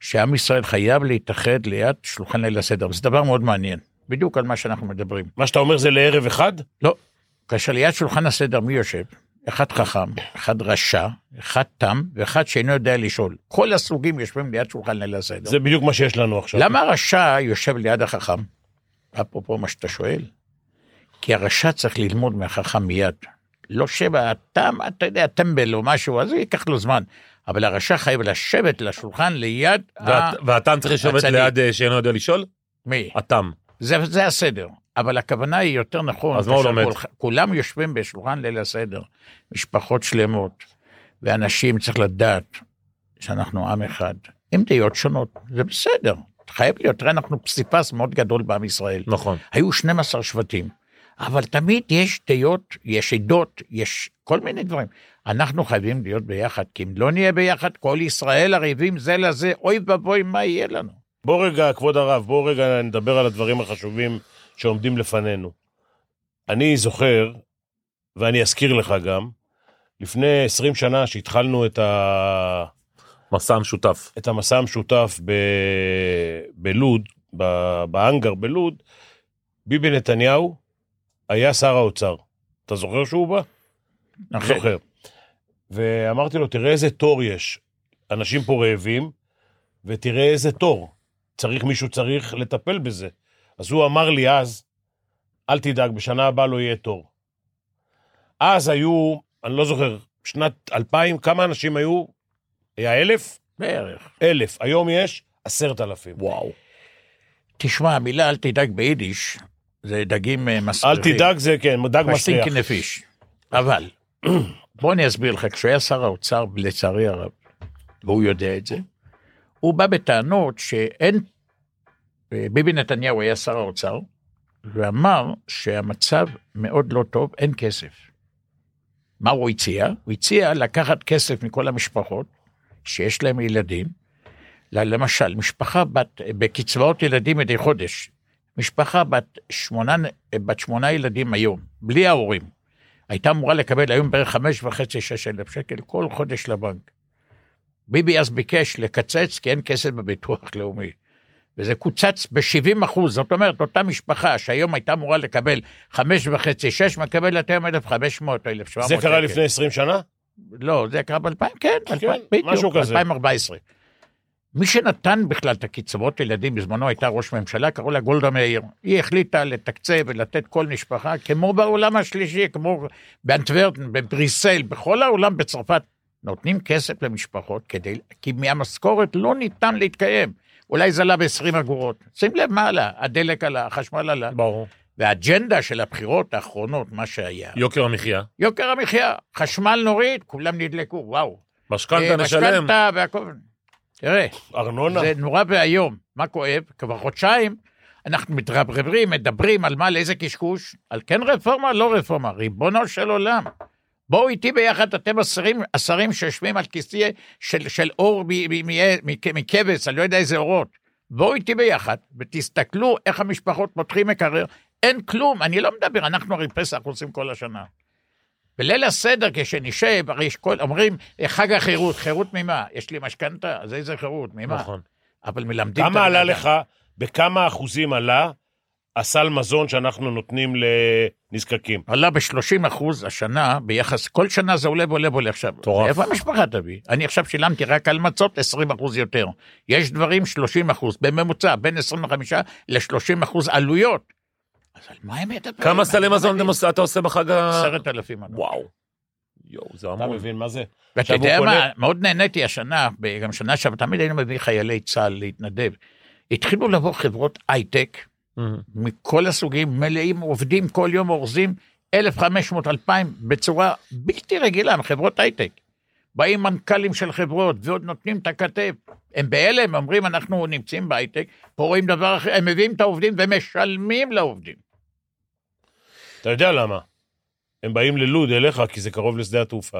G: שעם ישראל חייב להתאחד ליד שולחן ליל הסדר, וזה דבר מאוד מעניין, בדיוק על מה שאנחנו מדברים.
F: מה שאתה אומר זה לערב אחד?
G: לא, כאשר ליד שולחן הסדר מי יושב? אחד חכם, אחד רשע, אחד תם, ואחד שאינו יודע לשאול. כל הסוגים יושבים ליד שולחן ליל הסדר.
F: זה בדיוק מה שיש לנו עכשיו.
G: למה הרשע יושב ליד החכם? אפרופו מה שאתה שואל. כי הרשע צריך ללמוד מהחכם מיד. לא שבע, אתה, אתה יודע, טמבל או משהו, אז ייקח לו זמן. אבל הרשע חייב לשבת לשולחן ליד ה...
E: ואת- והתם צריך לשבת
G: הצדיק.
E: ליד אה, שאינו יודע לשאול?
G: מי?
E: התם.
G: זה, זה הסדר. אבל הכוונה היא יותר נכון.
E: אז מה הוא
G: כאשר
E: לומד?
G: כול- כולם יושבים בשולחן ליל הסדר, משפחות שלמות, ואנשים צריך לדעת שאנחנו עם אחד, עם דעות שונות, זה בסדר. חייב להיות, הרי אנחנו פסיפס מאוד גדול בעם ישראל.
E: נכון.
G: היו 12 שבטים, אבל תמיד יש דעות, יש עדות, יש כל מיני דברים. אנחנו חייבים להיות ביחד, כי אם לא נהיה ביחד, כל ישראל ערבים זה לזה, אוי ואבוי, מה יהיה לנו?
F: בוא רגע, כבוד הרב, בוא רגע נדבר על הדברים החשובים שעומדים לפנינו. אני זוכר, ואני אזכיר לך גם, לפני 20 שנה שהתחלנו את, ה...
E: מסע משותף.
F: את המסע המשותף ב... בלוד, ב... בהאנגר בלוד, ביבי נתניהו היה שר האוצר. אתה זוכר שהוא בא?
G: נכון.
F: זוכר. ואמרתי לו, תראה איזה תור יש. אנשים פה רעבים, ותראה איזה תור. צריך, מישהו צריך לטפל בזה. אז הוא אמר לי אז, אל תדאג, בשנה הבאה לא יהיה תור. אז היו, אני לא זוכר, שנת 2000, כמה אנשים היו? היה אלף?
G: בערך.
F: אלף. היום יש עשרת אלפים.
G: וואו. תשמע, המילה אל תדאג ביידיש, זה דגים אה, מסריחים.
F: אל תדאג, זה כן, דג מסריח.
G: מסטינקין נפיש. אבל, בוא אני אסביר לך, כשהוא היה שר האוצר, לצערי הרב, והוא יודע את זה, הוא בא בטענות שאין, אה, ביבי נתניהו היה שר האוצר, ואמר שהמצב מאוד לא טוב, אין כסף. מה הוא הציע? הוא הציע לקחת כסף מכל המשפחות שיש להם ילדים, ל- למשל, משפחה בת, בקצבאות ילדים מדי חודש, משפחה בת שמונה, בת שמונה ילדים היום, בלי ההורים, הייתה אמורה לקבל היום בערך חמש וחצי, שש אלף שקל כל חודש לבנק. ביבי אז ביקש לקצץ כי אין כסף בביטוח לאומי. וזה קוצץ ב-70 אחוז, זאת אומרת, אותה משפחה שהיום הייתה אמורה לקבל חמש וחצי, שש, מקבלת היום 1,500 או 1,700
F: זה
G: שקל.
E: כן,
F: קרה לפני 20 שנה?
G: לא, זה קרה ב-2000, כן, אלפיים,
F: משהו
G: בדיוק,
F: כזה.
G: 2014. מי שנתן בכלל את הקצבאות לילדים בזמנו הייתה ראש ממשלה, קראו לה גולדה מאיר. היא החליטה לתקצב ולתת כל משפחה, כמו בעולם השלישי, כמו באנטוורטן, בבריסל, בכל העולם בצרפת. נותנים כסף למשפחות כדי, כי מהמשכורת לא ניתן להתקיים. אולי זה עלה ב-20 אגורות. שים לב מה עלה, הדלק עלה, החשמל עלה.
E: ברור.
G: והאג'נדה של הבחירות האחרונות, מה שהיה,
E: יוקר המחיה.
G: יוקר המחיה, חשמל נוריד, כולם נדלקו, וואו.
E: משכנתה
G: אה,
E: נשלם.
G: משכנתה והכל. תראה,
F: אה, ארנונה?
G: זה נורא ואיום. מה כואב? כבר חודשיים אנחנו מתרברבים, מדברים על מה, לאיזה קשקוש, על כן רפורמה, לא רפורמה. ריבונו של עולם. בואו איתי ביחד, אתם השרים, השרים שיושבים על כיסא של, של אור מ- מ- מ- מ- מכבש, אני לא יודע איזה אורות. בואו איתי ביחד ותסתכלו איך המשפחות פותחים מקרר. אין כלום, אני לא מדבר, אנחנו הרי פסח עושים כל השנה. בליל הסדר, כשנשב, הרי יש כל, אומרים, חג החירות, חירות ממה? יש לי משכנתה, אז איזה חירות, ממה?
E: נכון.
G: אבל מלמדים... את
F: כמה
G: הבן
F: עלה
G: אדם.
F: לך, בכמה אחוזים עלה הסל מזון שאנחנו נותנים לנזקקים?
G: עלה ב-30 אחוז השנה ביחס, כל שנה זה עולה ועולה ועולה עכשיו.
E: מטורף.
G: איפה המשפחה תביא? אני עכשיו שילמתי רק על מצות 20 אחוז יותר. יש דברים 30 אחוז, בממוצע בין 25 ל-30 אחוז עלויות. אז על מה הם מדברים?
E: כמה סלי מזון אתם עוש- אתה עושה בחג ה...
G: עשרת אלפים.
E: וואו. יואו, זה
F: אתה
E: המון.
F: מבין מה זה?
G: ואתה
F: עכשיו הוא
G: יודע
F: קונה-
G: מה, מאוד נהניתי השנה, ב- גם שנה שעברה, תמיד היינו מביא חיילי צה"ל להתנדב. התחילו לבוא חברות הייטק,
F: Mm-hmm.
E: מהמם.
G: מכל הסוגים, מלאים עובדים, כל יום אורזים 1,500-2,000 בצורה בלתי רגילה, הם חברות הייטק. באים מנכ"לים של חברות ועוד נותנים את הכתף. הם בהלם, אומרים, אנחנו נמצאים בהייטק, פה רואים דבר אחר, הם מביאים את העובדים ומשלמים לעובדים.
F: אתה יודע למה. הם באים ללוד אליך, כי זה קרוב לשדה התעופה.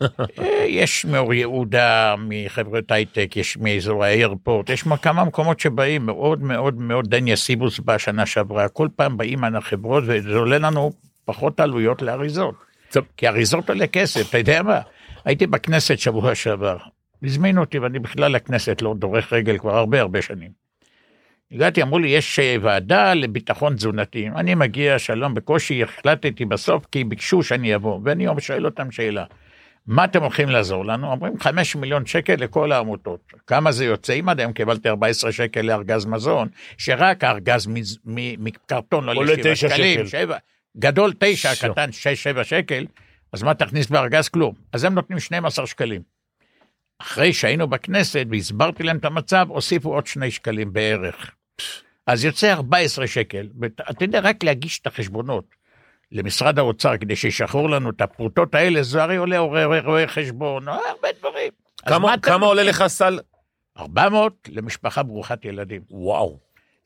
E: לא,
G: אה, יש מאור יהודה, מחברת הייטק, יש מאזור האיירפורט, יש מ- כמה מקומות שבאים, מאוד מאוד מאוד, דניה סיבוס בא שנה שעברה, כל פעם באים על החברות וזה עולה לנו פחות עלויות לאריזות.
E: טוב.
G: כי אריזות עולה כסף, אתה יודע מה? הייתי בכנסת שבוע שעבר, הזמינו אותי ואני בכלל לכנסת לא דורך רגל כבר הרבה הרבה שנים. הגעתי, אמרו לי, יש אה, ועדה לביטחון תזונתי. אני מגיע, שלום, בקושי החלטתי בסוף, כי ביקשו שאני אבוא. ואני שואל אותם שאלה, מה אתם הולכים לעזור לנו? אומרים 5 מיליון שקל לכל העמותות. כמה זה יוצא? אם עד היום קיבלתי 14 שקל לארגז מזון, שרק הארגז מז- מ- מקרטון
F: עולה
G: עולה 7
F: תשע שקל.
G: שקלים, שבע, גדול 9,
E: שו.
G: קטן 6-7 שקל, אז מה תכניס בארגז? כלום. אז הם נותנים 12 שקלים. אחרי שהיינו בכנסת והסברתי להם את המצב, הוסיפו עוד 2 שקלים בערך. אז יוצא 14 שקל, ואתה יודע, רק להגיש את החשבונות למשרד האוצר כדי שישחררו לנו את הפרוטות האלה, זה הרי עולה רואה- רואה רואה חשבון, אה, הרבה דברים. אז
E: כמה-
G: מה אתה-
E: כמה עולה לך סל?
G: 400 למשפחה ברוכת ילדים.
E: וואו.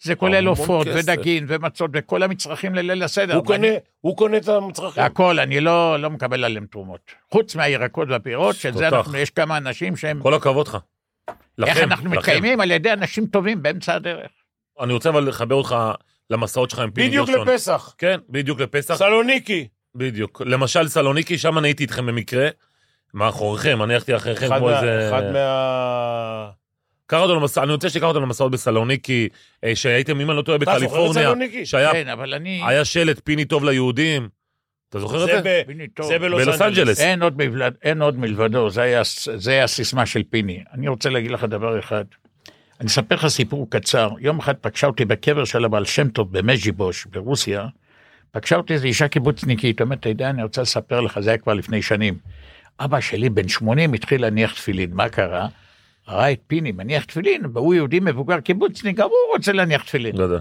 G: זה כולל
E: המון
G: עופות
E: כסף.
G: ודגים ומצות וכל המצרכים לליל הסדר.
F: הוא
G: ואני-
F: קונה, הוא קונה את המצרכים.
G: הכל, אני לא, לא מקבל עליהם תרומות. חוץ מהירקות והפירות, של זה
E: תותח.
G: אנחנו, יש כמה אנשים שהם...
E: כל הכבוד לך. לכם,
G: איך אנחנו
E: לכם.
G: מתקיימים? על ידי אנשים טובים באמצע הדרך.
E: אני רוצה אבל לחבר אותך למסעות שלך עם פיני
F: בדיוק
E: גרשון.
F: לפסח.
E: כן, בדיוק לפסח.
F: סלוניקי.
E: בדיוק. למשל סלוניקי, שם אני הייתי איתכם במקרה. מאחוריכם, אני הלכתי אחריכם
F: אחד
E: כן, כמו
F: מה-
E: איזה...
F: אחד מה...
E: קח אותו למסע, אני רוצה שתיקח אותו למסעות בסלוניקי, אה, שהייתם, אם אני לא טועה,
F: אתה זוכר את
E: בקליפורניה,
F: סלוניקי?
E: שהיה
G: כן, אבל אני...
E: היה שלט פיני טוב ליהודים. אתה זוכר את
F: זה
E: זה?
F: ב-
G: פיני טוב.
F: זה בלוס
E: בלוס
F: אנג'לס.
E: אנג'לס.
G: אין עוד, מבלד, אין עוד מלבדו, זה היה, זה היה הסיסמה של פיני. אני רוצה להגיד לך דבר אחד. אני אספר לך סיפור קצר. יום אחד פגשה אותי בקבר של הבעל שם טוב במז'יבוש ברוסיה. פגשה אותי איזו אישה קיבוצניקית, אומרת, אתה יודע, אני רוצה לספר לך, זה היה כבר לפני שנים. אבא שלי בן 80 התחיל להניח תפילין, מה קרה? ראה את פיני מניח תפילין, והוא יהודי מבוגר קיבוצניק, גם הוא רוצה להניח תפילין.
E: לא יודע.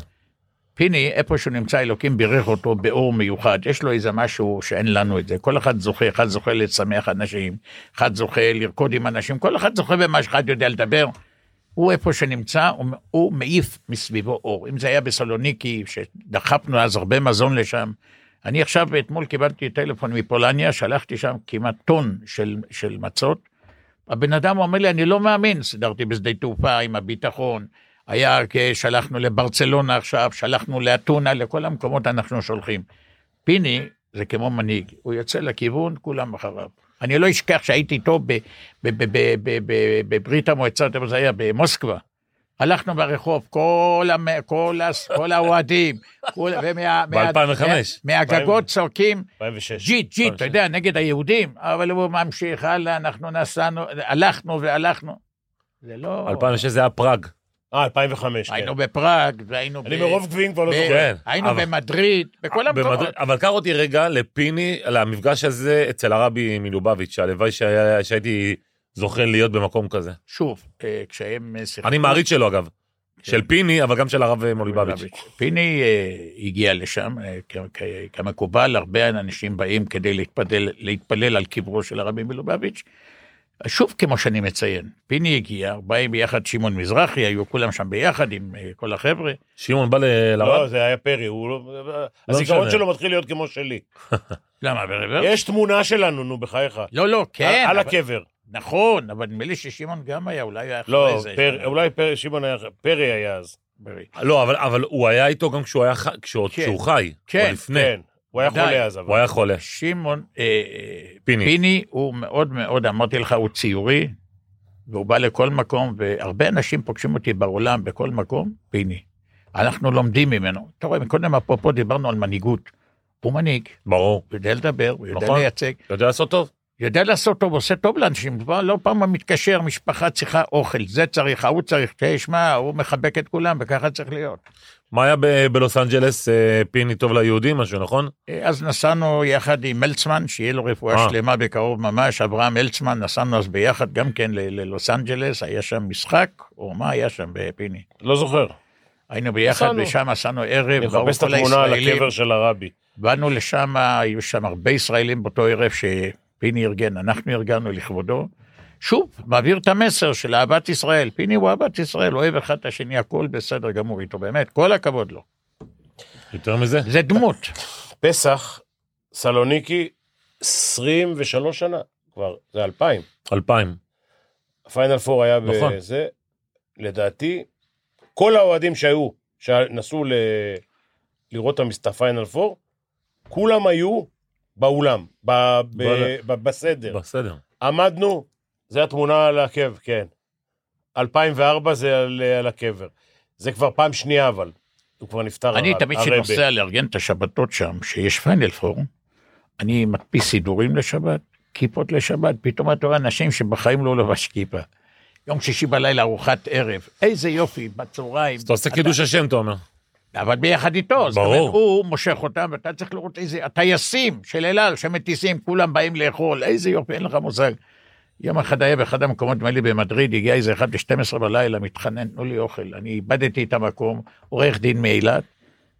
G: פיני, איפה שהוא נמצא, אלוקים בירך אותו באור מיוחד. יש לו איזה משהו שאין לנו את זה. כל אחד זוכה, אחד זוכה לשמח אנשים, אחד זוכה לרקוד עם אנשים, כל אחד זוכה במה שאחד יודע לדבר. הוא איפה שנמצא, הוא, הוא מעיף מסביבו אור. אם זה היה בסלוניקי, שדחפנו אז הרבה מזון לשם. אני עכשיו, אתמול קיבלתי טלפון מפולניה, שלחתי שם כמעט טון של, של מצות. הבן אדם אומר לי, אני לא מאמין, סידרתי בשדה תעופה עם הביטחון, היה, כ- שלחנו לברצלונה עכשיו, שלחנו לאתונה, לכל המקומות אנחנו שולחים. פיני זה כמו מנהיג, הוא יוצא לכיוון, כולם אחריו. אני לא אשכח שהייתי איתו ב- ב- ב- ב- ב- ב- בברית המועצות, איפה זה היה? במוסקבה. הלכנו ברחוב, כל, המ... כל, הס- כל האוהדים, כל... ומה... מה-
E: ב-2005.
G: מהגגות צועקים,
F: 2006.
G: ג'יט, ג'יט, אתה יודע, נגד היהודים, אבל הוא ממשיך הלאה, אנחנו נסענו, הלכנו והלכנו. זה לא...
E: 2006 זה היה פראג.
F: אה, 2005, כן.
G: היינו בפראג, והיינו
F: אני
G: ב-
F: מרוב גביעים כבר לא
G: ב-
F: זוכר.
E: כן,
G: היינו
E: אבל-
G: במדריד, בכל המקומות.
E: במדריד. אבל קח אותי רגע לפיני, למפגש הזה אצל הרבי מלובביץ', שהלוואי שהיה- שהייתי זוכה להיות במקום כזה.
G: שוב, אה, כשהם אה, שיחקו...
E: אני מעריץ שלו אגב. של פיני, אבל גם של הרב מלובביץ'.
G: פיני אה, הגיע לשם, אה, כ- כ- כמקובל, הרבה אנשים באים כדי להתפלל, להתפלל על קברו של הרבי מלובביץ'. שוב, כמו שאני מציין, פיני הגיע, באים ביחד שמעון מזרחי, היו כולם שם ביחד עם אה, כל החבר'ה.
E: שמעון בא ל-
F: לא,
E: לרב?
F: זה היה פרי, הוא לא...
E: לא
F: הזיכרון
E: משנה.
F: שלו מתחיל להיות כמו שלי.
G: למה, ברוורס?
F: יש תמונה שלנו, נו, בחייך.
G: לא, לא, אה? כן.
F: על- על
G: אבל-
F: הקבר.
G: נכון, אבל נדמה לי ששמעון גם היה, אולי היה אחרי
F: לא,
G: זה.
F: פר- אולי פרי, שמעון היה, פרי היה אז.
G: ברי.
E: לא, אבל- אבל הוא היה איתו גם כשהוא היה ח- כשהוא-
G: כן.
E: כשהוא חי.
G: כן,
E: או לפני.
F: כן, הוא היה
G: ודאי.
F: חולה אז,
E: הוא
F: אבל.
E: היה חולה.
G: שמעון, אה, אה,
E: פיני.
G: פיני הוא מאוד מאוד, אמרתי לך, הוא ציורי, והוא בא לכל מקום, והרבה אנשים פוגשים אותי בעולם, בכל מקום, פיני. אנחנו לומדים ממנו. אתה רואה, קודם אפרופו דיברנו על מנהיגות. הוא מנהיג,
E: ברור.
G: הוא יודע לדבר, הוא יודע
E: נכון.
G: לייצג,
E: אתה יודע לעשות טוב?
G: יודע לעשות טוב, עושה טוב לאנשים, כבר לא פעם מתקשר, משפחה צריכה אוכל, זה צריך, ההוא צריך, תשמע, הוא מחבק את כולם, וככה צריך להיות.
E: מה היה ב- בלוס אנג'לס, אה, פיני טוב ליהודים, משהו, נכון?
G: אה, אז נסענו יחד עם מלצמן, שיהיה לו רפואה
E: אה.
G: שלמה בקרוב ממש, אברהם מלצמן, נסענו אז ביחד גם כן ל- ללוס אנג'לס, היה שם משחק, או מה היה שם בפיני?
F: לא זוכר.
G: היינו ביחד
F: נסענו.
G: ושם עשינו ערב,
F: אני
G: באו
F: מחפש את
G: כל
F: התמונה על
G: הישראלים,
F: הקבר של הרבי.
G: באנו לשם, היו שם הרבה ישראלים באותו ערב שפיני ארגן, אנחנו ארגנו לכבודו. שוב, מעביר את המסר של אהבת ישראל, פיני הוא אהבת ישראל, אוהב אחד את השני, הכל בסדר גמור איתו, באמת, כל הכבוד לו.
E: יותר מזה?
G: זה דמות.
F: פסח, סלוניקי, 23 שנה כבר, זה 2000.
E: אלפיים.
F: הפיינל פור היה
E: נכון.
F: בזה. לדעתי, כל האוהדים שהיו, שנסעו ל... לראות את הפיינל פור, כולם היו באולם, ב... ב...
E: וואלה.
F: ב... בסדר.
E: בסדר.
F: עמדנו, זה התמונה על הקבר, כן. 2004 זה על, על הקבר. זה כבר פעם שנייה, אבל. הוא כבר נפטר.
G: אני
F: הרב-
G: תמיד
F: הרבי.
G: כשנוסע לארגן את השבתות שם, שיש פיינל פור, אני מדפיס סידורים לשבת, כיפות לשבת, פתאום אתה רואה אנשים שבחיים לא לבש כיפה. יום שישי בלילה ארוחת ערב, איזה יופי, בצהריים.
E: אז אתה עושה קידוש השם, אתה אומר. אה,
G: אבל ביחד איתו, זאת
E: ברור.
G: אומרת, הוא מושך אותם, ואתה צריך לראות איזה, הטייסים של אל על שמטיסים, כולם באים לאכול, איזה יופי, אין לך מושג. יום אחד היה באחד המקומות, נדמה לי במדריד, הגיע איזה אחד ב-12 בלילה, מתחנן, תנו לי אוכל. אני איבדתי את המקום, עורך דין מאילת,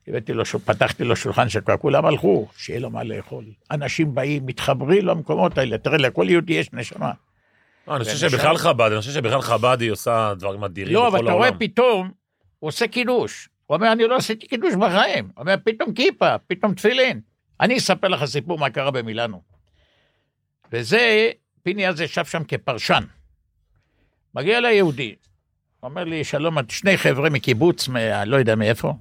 G: הבאתי לו, שול- פתחתי לו שולחן שכבר כולם הלכו, שיהיה לו מה לאכול. אנשים באים, מתחברים למקומות האלה, תראה, לכל יהודי יש נשמה.
E: אה, אני חושב
G: ונשאר-
E: שבכלל חב"ד, אני חושב שבכלל חב"ד היא עושה דברים אדירים
G: לא, אבל
E: בכל
G: אתה רואה
E: העולם.
G: פתאום, הוא עושה קידוש. הוא אומר, אני לא עשיתי קידוש בחיים. הוא אומר, פתאום כיפה, פתאום תפילין. אני אספר לך סיפור מה קרה במילאנו. וזה, פיני אז ישב שם כפרשן. מגיע אליי יהודי, הוא אומר לי, שלום, את שני חבר'ה מקיבוץ, מה, לא יודע מאיפה. הוא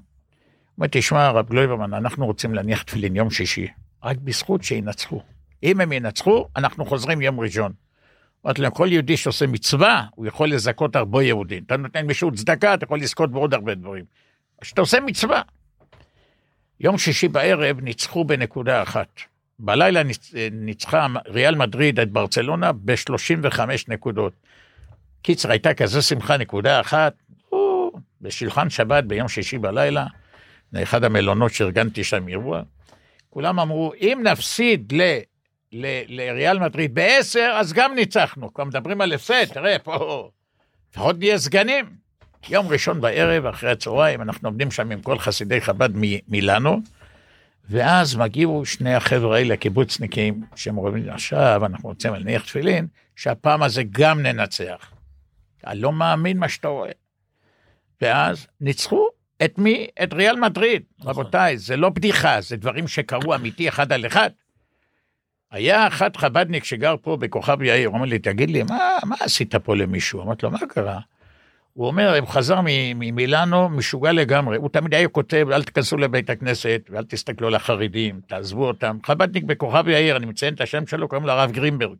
G: אומר, תשמע, הרב גלויברמן, אנחנו רוצים להניח תפילין יום שישי, רק בזכות שינצחו. אם הם ינצחו, אנחנו חוזרים יום ראשון. אמרתי להם, כל יהודי שעושה מצווה, הוא יכול לזכות הרבה יהודים. אתה נותן מישהו צדקה, אתה יכול לזכות בעוד הרבה דברים. אז אתה עושה מצווה. יום שישי בערב ניצחו בנקודה אחת. בלילה ניצ- ניצחה ריאל מדריד את ברצלונה ב-35 נקודות. קיצר, הייתה כזו שמחה, נקודה אחת. או, בשולחן שבת ביום שישי בלילה, לאחד המלונות שארגנתי שם אירוע, כולם אמרו, אם נפסיד ל... ל- לריאל מדריד בעשר, אז גם ניצחנו. כבר מדברים על הפסד, תראה, פה לפחות נהיה סגנים. יום ראשון בערב, אחרי הצהריים, אנחנו עומדים שם עם כל חסידי חב"ד מ- מילאנו, ואז מגיעו שני החבר'ה האלה, הקיבוצניקים, שהם אומרים, עכשיו אנחנו רוצים להניח תפילין, שהפעם הזה גם ננצח. אני לא מאמין מה שאתה רואה. ואז ניצחו את מי? את ריאל מדריד. רבותיי, זה לא בדיחה, זה דברים שקרו אמיתי אחד על אחד. היה אחד חבדניק שגר פה בכוכב יאיר, הוא אומר לי, תגיד לי, מה, מה עשית פה למישהו? אמרתי לו, מה קרה? הוא אומר, הוא חזר מ- ממילאנו, משוגע לגמרי. הוא תמיד היה כותב, אל תיכנסו לבית הכנסת ואל תסתכלו על החרדים, תעזבו אותם. חבדניק בכוכב יאיר, אני מציין את השם שלו, קוראים לו הרב גרינברג.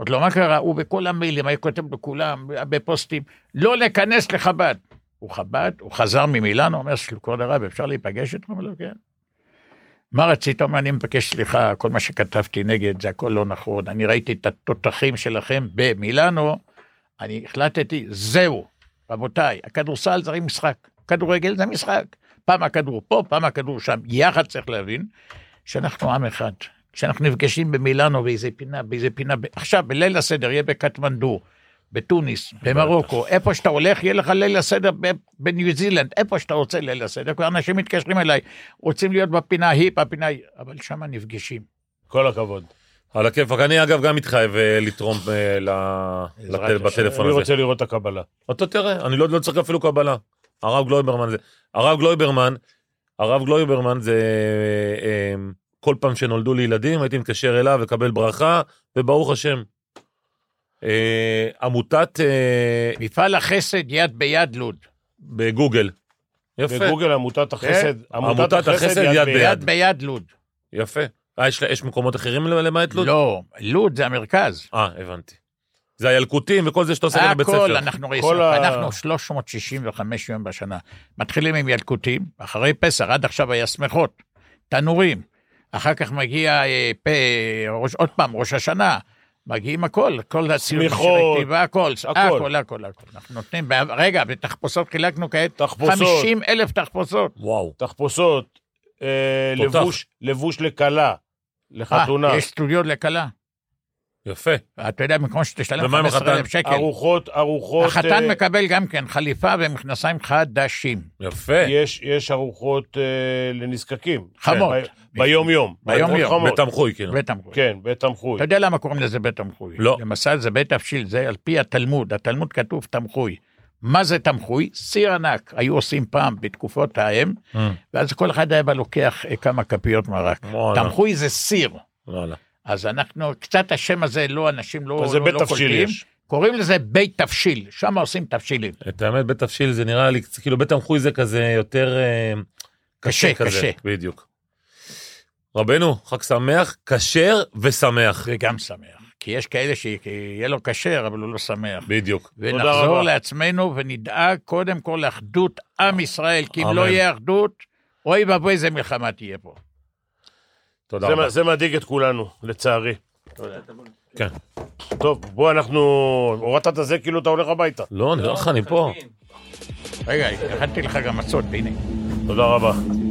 G: אמרתי לו, מה קרה? הוא בכל המיילים היה כותב לכולם, בפוסטים, לא להיכנס לחב"ד. הוא חב"ד, הוא חזר ממילאנו, אומר, כבוד הרב, אפשר להיפגש איתו? הוא אומר לו, כן. מה רצית? הוא אומר, אני מבקש סליחה, כל מה שכתבתי נגד, זה הכל לא נכון. אני ראיתי את התותחים שלכם במילאנו, אני החלטתי, זהו. רבותיי, הכדורסל זה הרי משחק, כדורגל זה משחק. פעם הכדור פה, פעם הכדור שם. יחד צריך להבין שאנחנו עם אחד. כשאנחנו נפגשים במילאנו באיזה פינה, באיזה פינה, ב- עכשיו, בליל הסדר יהיה בקטמנדו, בתוניס, במרוקו, איפה שאתה הולך, יהיה לך ליל הסדר ב- בניו זילנד, איפה שאתה רוצה ליל הסדר. כבר אנשים מתקשרים אליי, רוצים להיות בפינה ההיא, בפינה ההיא, אבל שם נפגשים.
F: כל הכבוד.
E: על הכיפאק, אני אגב גם מתחייב אה, לתרום אה, ל-
G: בעזרת
E: לטל-
G: השם.
E: בטלפון
F: אני
E: הזה.
F: רוצה לראות את הקבלה.
E: אתה תראה, אני לא, לא צריך אפילו קבלה. הרב גלויברמן זה... הרב גלויברמן, הרב גלויברמן זה... אה, כל פעם שנולדו לי ילדים, הייתי מתקשר אליו, לקבל ברכה, וברוך השם. אה, עמותת אה,
G: מפעל החסד יד ביד לוד.
E: בגוגל. יפה,
F: בגוגל עמותת החסד,
E: עמותת החסד יד ביד.
G: יד ביד לוד.
E: יפה. אה, יש, יש מקומות אחרים למעט לוד?
G: לא, לוד זה המרכז.
E: אה, הבנתי. זה הילקוטים וכל זה שאתה עושה לבית
G: הכל,
E: ספר.
G: אנחנו רואים,
F: כל ה-
G: אנחנו 365 יום בשנה. מתחילים עם ילקוטים, אחרי פסח, עד עכשיו היה שמחות, תנורים. אחר כך מגיע אה, פ- ראש- עוד פעם, ראש השנה. מגיעים הכל, כל הציונים
F: שמיכות,
G: והכל,
F: הכל.
G: הכל, הכל, הכל. אנחנו נותנים, ב- רגע, בתחפושות חילקנו כעת
F: תחפושות.
G: 50 אלף תחפושות.
E: וואו.
F: תחפושות, אה,
E: תותח.
F: לבוש- לבוש לכלה, לחתונה,
G: אה, יש סטודיו לכלה.
E: יפה.
G: אתה יודע, במקום שתשלם
E: ומה עם
G: 15 אלף
E: החתן?
G: שקל.
F: ארוחות, ארוחות,
G: החתן
F: אה,
G: מקבל גם כן חליפה ומכנסיים חדשים.
E: יפה.
F: יש- יש ארוחות אה, לנזקקים.
G: חמות.
F: כן, ב- ביום-יום.
G: ביום-יום.
F: ארוחות חמות.
E: בתמחוי, כאילו.
G: בית המקום.
F: כן, בתמחוי.
G: אתה יודע למה קוראים לזה בית תמחוי?
E: לא.
G: למעשה זה בית תבשיל, זה על פי התלמוד, התלמוד כתוב תמחוי. מה זה תמחוי? סיר ענק, היו עושים פעם בתקופות ההם,
E: Mm.
G: ואז כל אחד היה בא לוקח אה, כמה כפיות מרק.
E: וואלה.
G: תמחוי זה סיר,
E: וואלה.
G: אז אנחנו, קצת השם הזה, לא, אנשים לא
F: אבל זה
G: לא-
F: בית
G: לא
F: תבשיל
G: קולטים.
F: יש.
G: קוראים לזה בית תבשיל, שם עושים תבשילים.
E: את האמת, בית תבשיל זה נראה לי, קצת- כאילו בית תמחוי זה כזה יותר... אה,
G: קשה,
E: כזה.
G: קשה.
E: בדיוק. רבנו, חג שמח, כשר ושמח.
G: זה גם שמח, כי יש כאלה שיהיה לו כשר, אבל הוא לא שמח.
E: בדיוק.
G: ונחזור
F: רבה.
G: לעצמנו ונדאג קודם כל לאחדות עם ישראל, כי אם
E: אמן.
G: לא יהיה אחדות, אוי ואבוי איזה מלחמה תהיה פה.
E: תודה
F: זה
E: רבה.
F: מה- זה מדאיג את כולנו, לצערי.
E: כן.
F: טוב, בוא, אנחנו... הורדת את זה כאילו אתה הולך הביתה.
E: נכון, לא, נראה לך, אני לא פה.
G: רגע, הכנתי לך גם מצות, הנה.
F: תודה רבה.